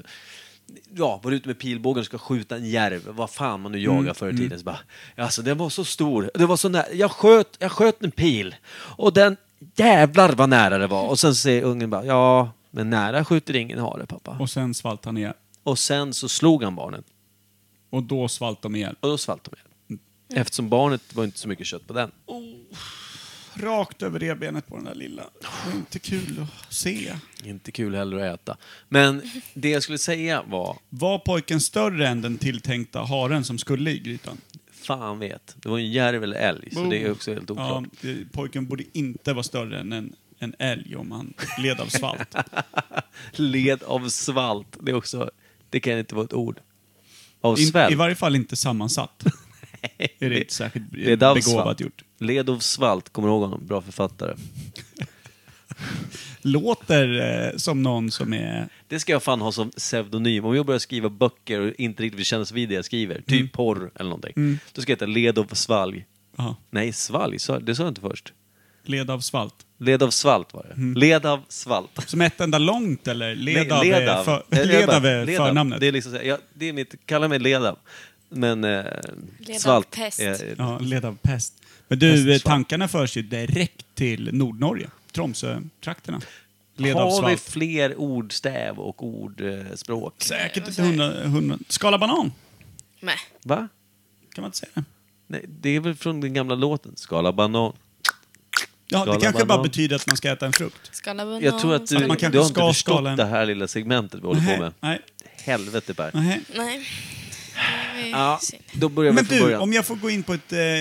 [SPEAKER 3] Ja, var ute med pilbågen och ska skjuta en järv, vad fan man nu jagar förr i tiden. Så bara, alltså den var så stor, det var så nära, jag sköt, jag sköt en pil och den, jävlar vad nära det var. Och sen säger ungen bara, ja, men nära skjuter ingen hare pappa.
[SPEAKER 4] Och sen svalt han ihjäl.
[SPEAKER 3] Och sen så slog han barnet
[SPEAKER 4] Och då svalt de ihjäl.
[SPEAKER 3] och då svalt de ihjäl. Eftersom barnet var inte så mycket kött på den.
[SPEAKER 4] Rakt över revbenet på den där lilla. Det är inte kul att se.
[SPEAKER 3] Inte kul heller att äta. Men det jag skulle säga var,
[SPEAKER 4] Var pojken större än den tilltänkta haren som skulle i grytan?
[SPEAKER 3] fan vet, det var en järv eller älg, så det är
[SPEAKER 4] Oh.
[SPEAKER 3] också helt oklart.
[SPEAKER 4] Ja, det- pojken borde inte vara större än en, en älg om han led av svalt.
[SPEAKER 3] Led av svalt. Det, är också, det kan inte vara ett ord. Av
[SPEAKER 4] In,
[SPEAKER 3] svält.
[SPEAKER 4] I varje fall inte sammansatt. är det inte särskilt
[SPEAKER 3] Led av svalt.
[SPEAKER 4] begåvat gjort.
[SPEAKER 3] Led av svalt, kommer du ihåg honom? Bra författare.
[SPEAKER 4] Låter eh, som någon som är...
[SPEAKER 3] Det ska jag fan ha som pseudonym. Om jag börjar skriva böcker och inte riktigt vill kännas vid det jag skriver, typ
[SPEAKER 4] Mm.
[SPEAKER 3] porr eller någonting, då ska jag heta Led av svalg.
[SPEAKER 4] Ja,
[SPEAKER 3] Nej, svalg, sa- det sa jag inte först.
[SPEAKER 4] led av svalt.
[SPEAKER 3] Led av svalt var det.
[SPEAKER 4] Mm.
[SPEAKER 3] Led av svalt.
[SPEAKER 4] Som ett enda långt eller? Led
[SPEAKER 3] Nej,
[SPEAKER 4] av
[SPEAKER 3] Ledav.
[SPEAKER 4] är för,
[SPEAKER 3] Jag- jag
[SPEAKER 4] led
[SPEAKER 3] bara-
[SPEAKER 4] av är
[SPEAKER 3] Ledav.
[SPEAKER 4] förnamnet.
[SPEAKER 3] Det är liksom så här, ja, det är mitt, kalla mig Ledav. Men eh,
[SPEAKER 5] Leda
[SPEAKER 3] svalt...
[SPEAKER 5] pest.
[SPEAKER 3] Eh,
[SPEAKER 4] Ja, led av pest. Men du, eh,
[SPEAKER 3] Pestsvamp.
[SPEAKER 4] tankarna förs ju direkt till Nordnorge, Tromsö-trakterna. Led av
[SPEAKER 3] har vi
[SPEAKER 4] svamp.
[SPEAKER 3] fler ordstäv och eh, ordspråk?
[SPEAKER 4] Säkert ett hundra, hundra... Skala banan,
[SPEAKER 5] Nej.
[SPEAKER 3] Va?
[SPEAKER 4] kan man inte säga det?
[SPEAKER 3] Nej, det är väl från den gamla låten? Skala banan.
[SPEAKER 4] Ja, det
[SPEAKER 3] Skala
[SPEAKER 4] kanske bara
[SPEAKER 3] banan.
[SPEAKER 4] betyder att man ska äta en frukt.
[SPEAKER 5] Skala banan.
[SPEAKER 3] Jag tror att du,
[SPEAKER 4] Att man
[SPEAKER 3] du
[SPEAKER 4] kanske
[SPEAKER 3] har inte
[SPEAKER 4] ska
[SPEAKER 3] förstått
[SPEAKER 4] skala en-
[SPEAKER 3] det här lilla segmentet vi håller på med.
[SPEAKER 4] Nej,
[SPEAKER 3] Helvete Per.
[SPEAKER 4] nej.
[SPEAKER 5] Nej. Det var
[SPEAKER 3] Ja,
[SPEAKER 5] ju synd.
[SPEAKER 3] då börjar vi
[SPEAKER 4] Men
[SPEAKER 3] från
[SPEAKER 4] du,
[SPEAKER 3] början.
[SPEAKER 4] om jag får gå in på ett, eh,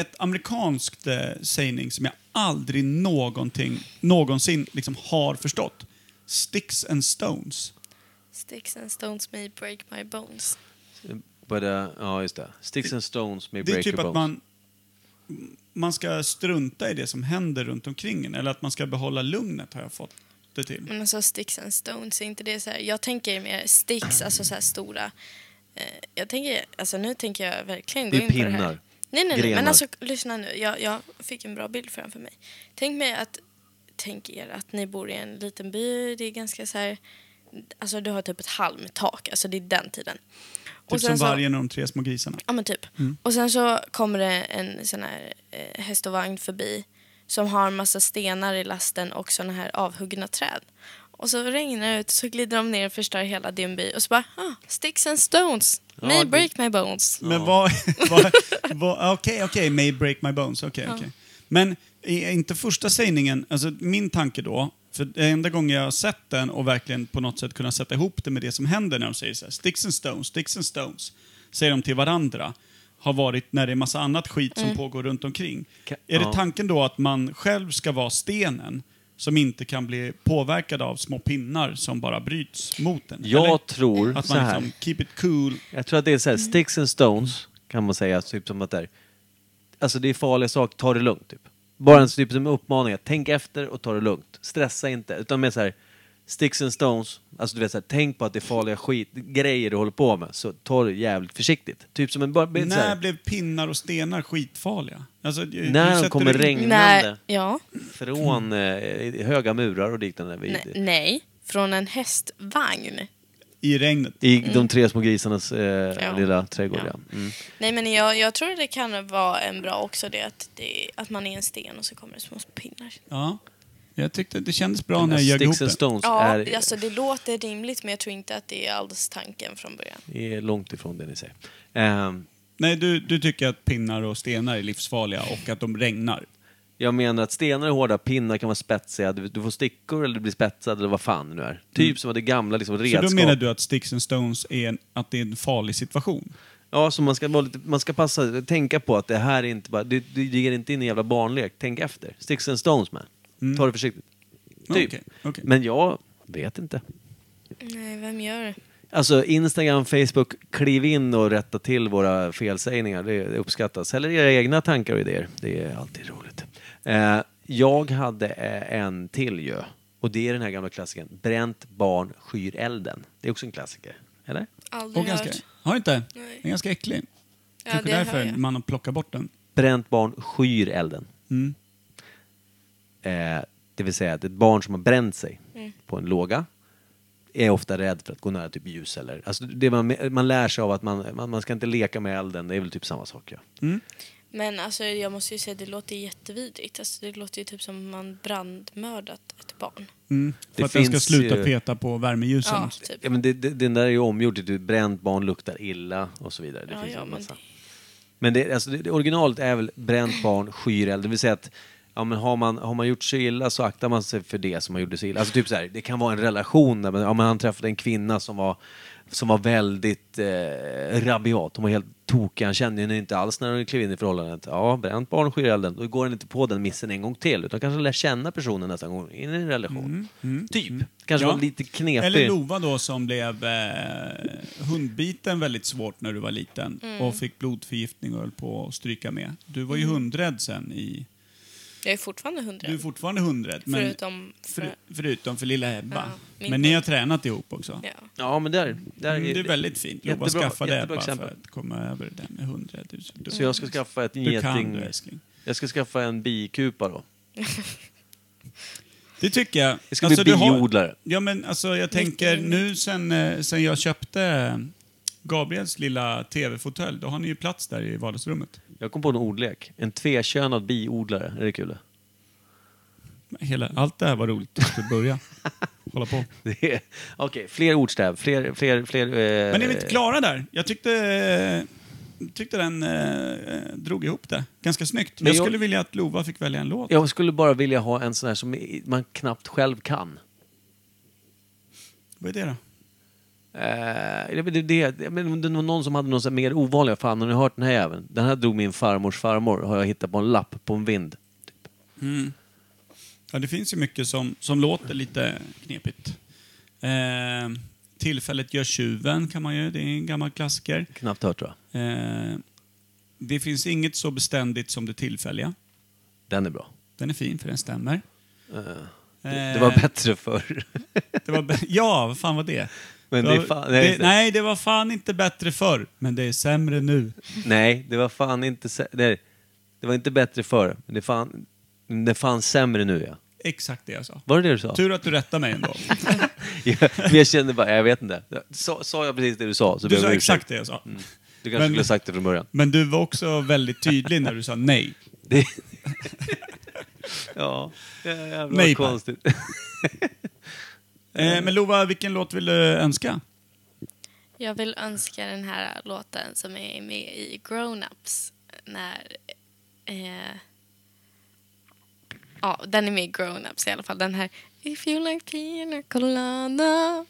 [SPEAKER 4] ett amerikanskt eh, sägning som jag aldrig någonting, någonsin liksom har förstått. Sticks and stones.
[SPEAKER 5] Sticks and stones may break my bones.
[SPEAKER 3] But, uh, ja, just det. Sticks and stones may
[SPEAKER 4] Det är
[SPEAKER 3] break
[SPEAKER 4] typ
[SPEAKER 3] your
[SPEAKER 4] att
[SPEAKER 3] bones.
[SPEAKER 4] man, man ska strunta i det som händer runt omkring en, eller att man ska behålla lugnet har jag fått det till.
[SPEAKER 3] Mm.
[SPEAKER 4] Typ
[SPEAKER 5] Men alltså sticks and stones, är inte det så här... Jag tänker mer sticks, alltså så här stora... Eh, jag tänker, alltså nu tänker jag verkligen gå
[SPEAKER 3] Det
[SPEAKER 5] in
[SPEAKER 3] är
[SPEAKER 5] på det här.
[SPEAKER 3] pinnar.
[SPEAKER 5] Nej, nej, nej.
[SPEAKER 3] Grenar.
[SPEAKER 5] Men alltså lyssna nu. Jag, jag fick en bra bild framför mig. Tänk mig att, tänk er att ni bor i en liten by. Det är ganska så här, alltså du har typ ett halmtak. Alltså det är den tiden.
[SPEAKER 4] Typ som
[SPEAKER 5] sen så-
[SPEAKER 4] vargen och de tre små grisarna.
[SPEAKER 5] Ja men typ. Och sen så kommer det en sån här eh, häst och vagn förbi som har massa stenar i lasten och såna här avhuggna träd. Och så regnar det ut så glider de ner och förstör hela din by och så bara ah, sticks and stones, may
[SPEAKER 3] det-
[SPEAKER 5] break my bones.
[SPEAKER 4] Men vad... vad- vad- Okej, okej, may break my bones. Okej, okej. Men är inte första sägningen, alltså min tanke då, för det enda gången jag har sett den och verkligen på något sätt kunnat sätta ihop det med det som händer när de säger så här, sticks and stones, sticks and stones, säger de till varandra, har varit när det är massa annat skit som pågår runt omkring.
[SPEAKER 3] Ka-
[SPEAKER 4] är det
[SPEAKER 3] ja.
[SPEAKER 4] tanken då att man själv ska vara stenen som inte kan bli påverkad av små pinnar som bara bryts mot en?
[SPEAKER 3] Jag
[SPEAKER 4] Eller?
[SPEAKER 3] tror
[SPEAKER 4] Att
[SPEAKER 3] så
[SPEAKER 4] man
[SPEAKER 3] här.
[SPEAKER 4] liksom, keep it cool,
[SPEAKER 3] Jag tror att det är så
[SPEAKER 5] Mm.
[SPEAKER 3] här, sticks and stones kan man säga, typ som att det är, alltså det är farliga saker, ta det lugnt typ. Bara en typ som uppmaning, att tänk efter och ta det lugnt. Stressa inte, utan mer så här, sticks and stones, alltså du vet så här, tänk på att det är farliga skit, grejer du håller på med, så ta det jävligt försiktigt. Typ som en, bara, bara så
[SPEAKER 4] När
[SPEAKER 3] här,
[SPEAKER 4] blev pinnar och stenar skitfarliga? Alltså, ju-
[SPEAKER 3] När
[SPEAKER 4] ju
[SPEAKER 3] de
[SPEAKER 4] sätter
[SPEAKER 3] kommer
[SPEAKER 4] du-
[SPEAKER 3] regn-
[SPEAKER 5] Nej,
[SPEAKER 3] Pinnande.
[SPEAKER 5] ja,
[SPEAKER 3] från eh, höga murar och liknande vid,
[SPEAKER 5] nej, Mm. nej, från en hästvagn.
[SPEAKER 4] I regnet.
[SPEAKER 3] i de tre små grisarnas eh,
[SPEAKER 5] Ja.
[SPEAKER 3] lilla trädgård.
[SPEAKER 5] Ja.
[SPEAKER 3] Ja. Mm.
[SPEAKER 5] Nej men jag, jag tror det kan vara en bra också det att, det att man är en sten och så kommer det små pinnar.
[SPEAKER 4] Ja. Jag tyckte det kändes bra när jag ljög ihop
[SPEAKER 3] Sticks and
[SPEAKER 4] det.
[SPEAKER 3] stones
[SPEAKER 5] Ja,
[SPEAKER 3] är,
[SPEAKER 5] alltså det låter rimligt men jag tror inte att det är alls tanken från början.
[SPEAKER 3] är långt ifrån det ni säger. Ehm,
[SPEAKER 4] Nej, du, du tycker att pinnar och stenar är livsfarliga och att de regnar.
[SPEAKER 3] Jag menar att stenar är hårda, pinnar kan vara spetsiga, du, du får stickor eller du blir spetsad eller vad fan det nu är. Typ som att det gamla liksom, redskap.
[SPEAKER 4] Mm. Så då menar du att sticks and stones är en, att det är en farlig situation?
[SPEAKER 3] Ja, så man ska, vara lite, man ska passa, tänka på att det här är inte bara, du, du ger inte in i en jävla barnlek, tänk efter. Sticks and stones man. Ta det försiktigt. Typ.
[SPEAKER 4] Mm. Okej, okej.
[SPEAKER 3] Men jag vet inte.
[SPEAKER 5] Nej, vem gör det?
[SPEAKER 3] Alltså Instagram, Facebook, kliv in och rätta till våra felsägningar. Det det uppskattas. Eller era egna tankar och idéer. Det är alltid roligt. Eh, jag hade eh, en till ju. Och det är den här gamla klassikern. Bränt barn skyr elden. Det är också en klassiker. Eller?
[SPEAKER 5] Aldrig
[SPEAKER 4] Och ganska,
[SPEAKER 5] hört.
[SPEAKER 4] har du inte?
[SPEAKER 5] Nej.
[SPEAKER 4] Den är ganska äcklig.
[SPEAKER 5] Ja,
[SPEAKER 4] Kanske
[SPEAKER 5] det hör
[SPEAKER 4] därför
[SPEAKER 5] jag.
[SPEAKER 4] man plockar bort den.
[SPEAKER 3] Bränt barn skyr elden.
[SPEAKER 4] Mm.
[SPEAKER 3] Eh, det vill säga att ett barn som har bränt sig på en låga är ofta rädd för att gå nära typ ljus eller... Alltså det man, man lär sig av att man, man, man ska inte leka med elden. Det är väl typ samma sak ja.
[SPEAKER 5] Men alltså, jag måste ju säga det låter jättevidrigt. Alltså, det låter ju typ som om man brandmördat ett barn.
[SPEAKER 4] Mm. För
[SPEAKER 3] Det
[SPEAKER 4] att den ska
[SPEAKER 3] finns
[SPEAKER 4] sluta
[SPEAKER 3] ju-
[SPEAKER 4] peta på värmeljusen.
[SPEAKER 5] Ja, typ.
[SPEAKER 3] Ja, men det, det, den där är ju omgjord till typ bränt barn luktar illa och så vidare. Det
[SPEAKER 5] Ja,
[SPEAKER 3] finns ju
[SPEAKER 5] ja,
[SPEAKER 3] en
[SPEAKER 5] men
[SPEAKER 3] massa.
[SPEAKER 5] det-
[SPEAKER 3] Men det, alltså, det, det originalet är väl bränt barn skyr eld. Det vill säga att ja, men har, man, har man gjort sig illa så aktar man sig för det som man gjorde sig illa. Alltså typ så här, det kan vara en relation där men, ja, men han träffade en kvinna som var, som var väldigt eh, rabiat. Hon var helt tokig. Han kände henne inte alls när hon klev in i förhållandet. Ja, bränt barn skyr elden. Då går han inte på den missen en gång till utan kanske lär känna personen nästa gång in i en relation. Typ. Kanske
[SPEAKER 4] Mm, Ja.
[SPEAKER 3] var lite knepig.
[SPEAKER 4] Eller Lova då som blev eh, hundbiten väldigt svårt när du var liten
[SPEAKER 5] Mm.
[SPEAKER 4] och fick blodförgiftning och höll på att stryka med. Du var ju hundrädd sen i...
[SPEAKER 5] Jag är fortfarande hundra.
[SPEAKER 4] Du är fortfarande hundrädd. Men,
[SPEAKER 5] Förutom
[SPEAKER 4] för,
[SPEAKER 5] för...
[SPEAKER 4] förutom för lilla Ebba.
[SPEAKER 5] Ja, min
[SPEAKER 4] men ni har
[SPEAKER 5] hund.
[SPEAKER 4] tränat ihop också.
[SPEAKER 5] Ja.
[SPEAKER 3] Ja, men där, där
[SPEAKER 4] Mm, det är väldigt fint. Lova
[SPEAKER 3] Jättebra-
[SPEAKER 4] skaffade
[SPEAKER 3] jättebra
[SPEAKER 4] Ebba för
[SPEAKER 3] exempel.
[SPEAKER 4] att komma över det där med hundrädd. Du är dum.
[SPEAKER 3] Så jag ska skaffa ett
[SPEAKER 4] Du kan
[SPEAKER 3] geting...
[SPEAKER 4] du älskling.
[SPEAKER 3] jag ska skaffa en bikupa då.
[SPEAKER 4] Det tycker jag. Alltså,
[SPEAKER 3] Jag ska bli
[SPEAKER 4] du har-
[SPEAKER 3] biodlare.
[SPEAKER 4] Ja, men alltså jag tänker nu sen, eh, sen jag köpte Gabriels lilla tv-fåtölj, då har ni ju plats där i vardagsrummet.
[SPEAKER 3] Jag kom på en ordlek. En tvekönad biodlare. Är det kul?
[SPEAKER 4] Hela, allt det här var roligt till att börja. Hålla på.
[SPEAKER 3] Det är- Okej, fler ordstäv. Fler, fler, fler... Eh,
[SPEAKER 4] Men är vi inte klara där? Jag tyckte, eh, tyckte den eh, drog ihop det ganska snyggt.
[SPEAKER 3] Men
[SPEAKER 4] Jag
[SPEAKER 3] jag-
[SPEAKER 4] skulle vilja att Lova fick välja en låt.
[SPEAKER 3] Jag skulle bara vilja ha en sån här som i- man knappt själv kan.
[SPEAKER 4] Vad är det då?
[SPEAKER 3] Eh, det, det, det, men det var någon som hade någon sån här mer ovanliga. Fan, har ni hört den här även? Den här drog min farmors farmor. Har jag hittat på en lapp på en vind.
[SPEAKER 4] Ja, det finns ju mycket som, som låter lite knepigt. Eh, tillfället gör tjuven kan man ju, det är en gammal klassiker.
[SPEAKER 3] Knappt hört tror jag.
[SPEAKER 4] Eh, det finns inget så beständigt som det tillfälliga.
[SPEAKER 3] Den är bra.
[SPEAKER 4] Den är fin för den stämmer.
[SPEAKER 3] Det,
[SPEAKER 4] Eh,
[SPEAKER 3] det var bättre förr.
[SPEAKER 4] det var bä- ja, vad fan var det?
[SPEAKER 3] Men det
[SPEAKER 4] var,
[SPEAKER 3] är fan- nej,
[SPEAKER 4] det,
[SPEAKER 3] det-
[SPEAKER 4] nej, det var fan inte bättre förr, men det är sämre nu.
[SPEAKER 3] Nej, det var fan inte... sä- Nej, det var inte bättre förr. Men det fan, det fan sämre nu ja.
[SPEAKER 4] Exakt det jag sa.
[SPEAKER 3] Var det det du sa?
[SPEAKER 4] Tur att du rättade mig ändå.
[SPEAKER 3] Ja, men jag kände bara, jag vet inte. Sa, sa jag precis det du sa så ber
[SPEAKER 4] Du
[SPEAKER 3] jag
[SPEAKER 4] sa
[SPEAKER 3] om
[SPEAKER 4] exakt
[SPEAKER 3] ursäkt. Mm.
[SPEAKER 4] det jag sa.
[SPEAKER 3] Du kanske
[SPEAKER 4] Men-
[SPEAKER 3] skulle ha sagt det från början.
[SPEAKER 4] Men du var också väldigt tydlig när du sa nej.
[SPEAKER 3] Det... ja, det är jävla
[SPEAKER 4] Nej, Per.
[SPEAKER 3] konstigt. Mm.
[SPEAKER 4] Eh, men Lova, vilken låt vill du önska?
[SPEAKER 5] Jag vill önska den här låten som är med i Grown Ups. När, eh, ja, den är med i Grown Ups i alla fall. Den här If you like pina colada.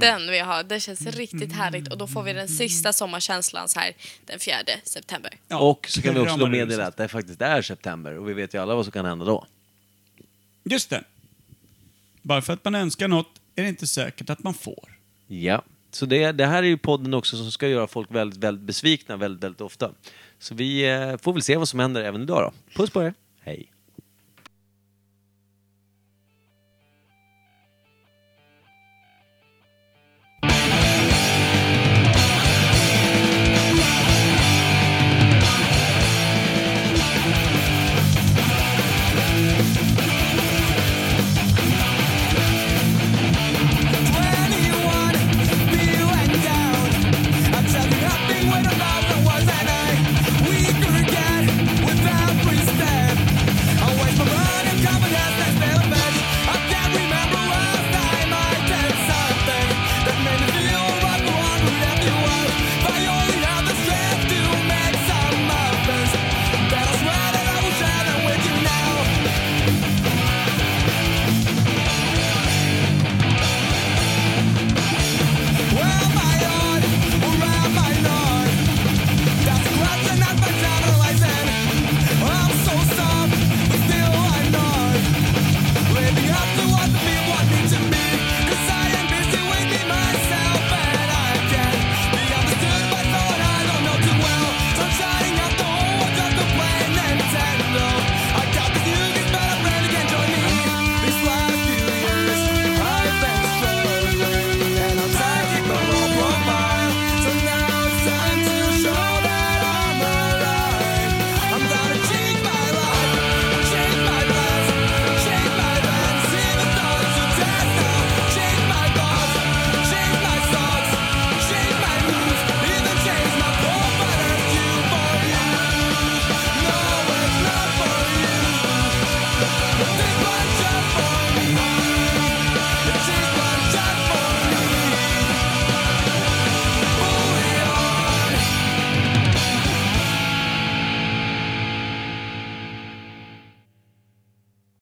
[SPEAKER 5] Den vi har, den känns riktigt härligt och då får vi den sista sommarkänslan så här den 4 september.
[SPEAKER 4] Ja,
[SPEAKER 3] och så kan vi också då
[SPEAKER 4] kramar du,
[SPEAKER 3] meddela att det faktiskt är september och vi vet ju alla vad som kan hända då.
[SPEAKER 4] Just det. Bara för att man önskar något är det inte säkert att man får.
[SPEAKER 3] Ja, så det, det här är ju podden också som ska göra folk väldigt, väldigt besvikna väldigt, väldigt ofta. Så vi eh, får väl se vad som händer även idag då. Puss på er, hej!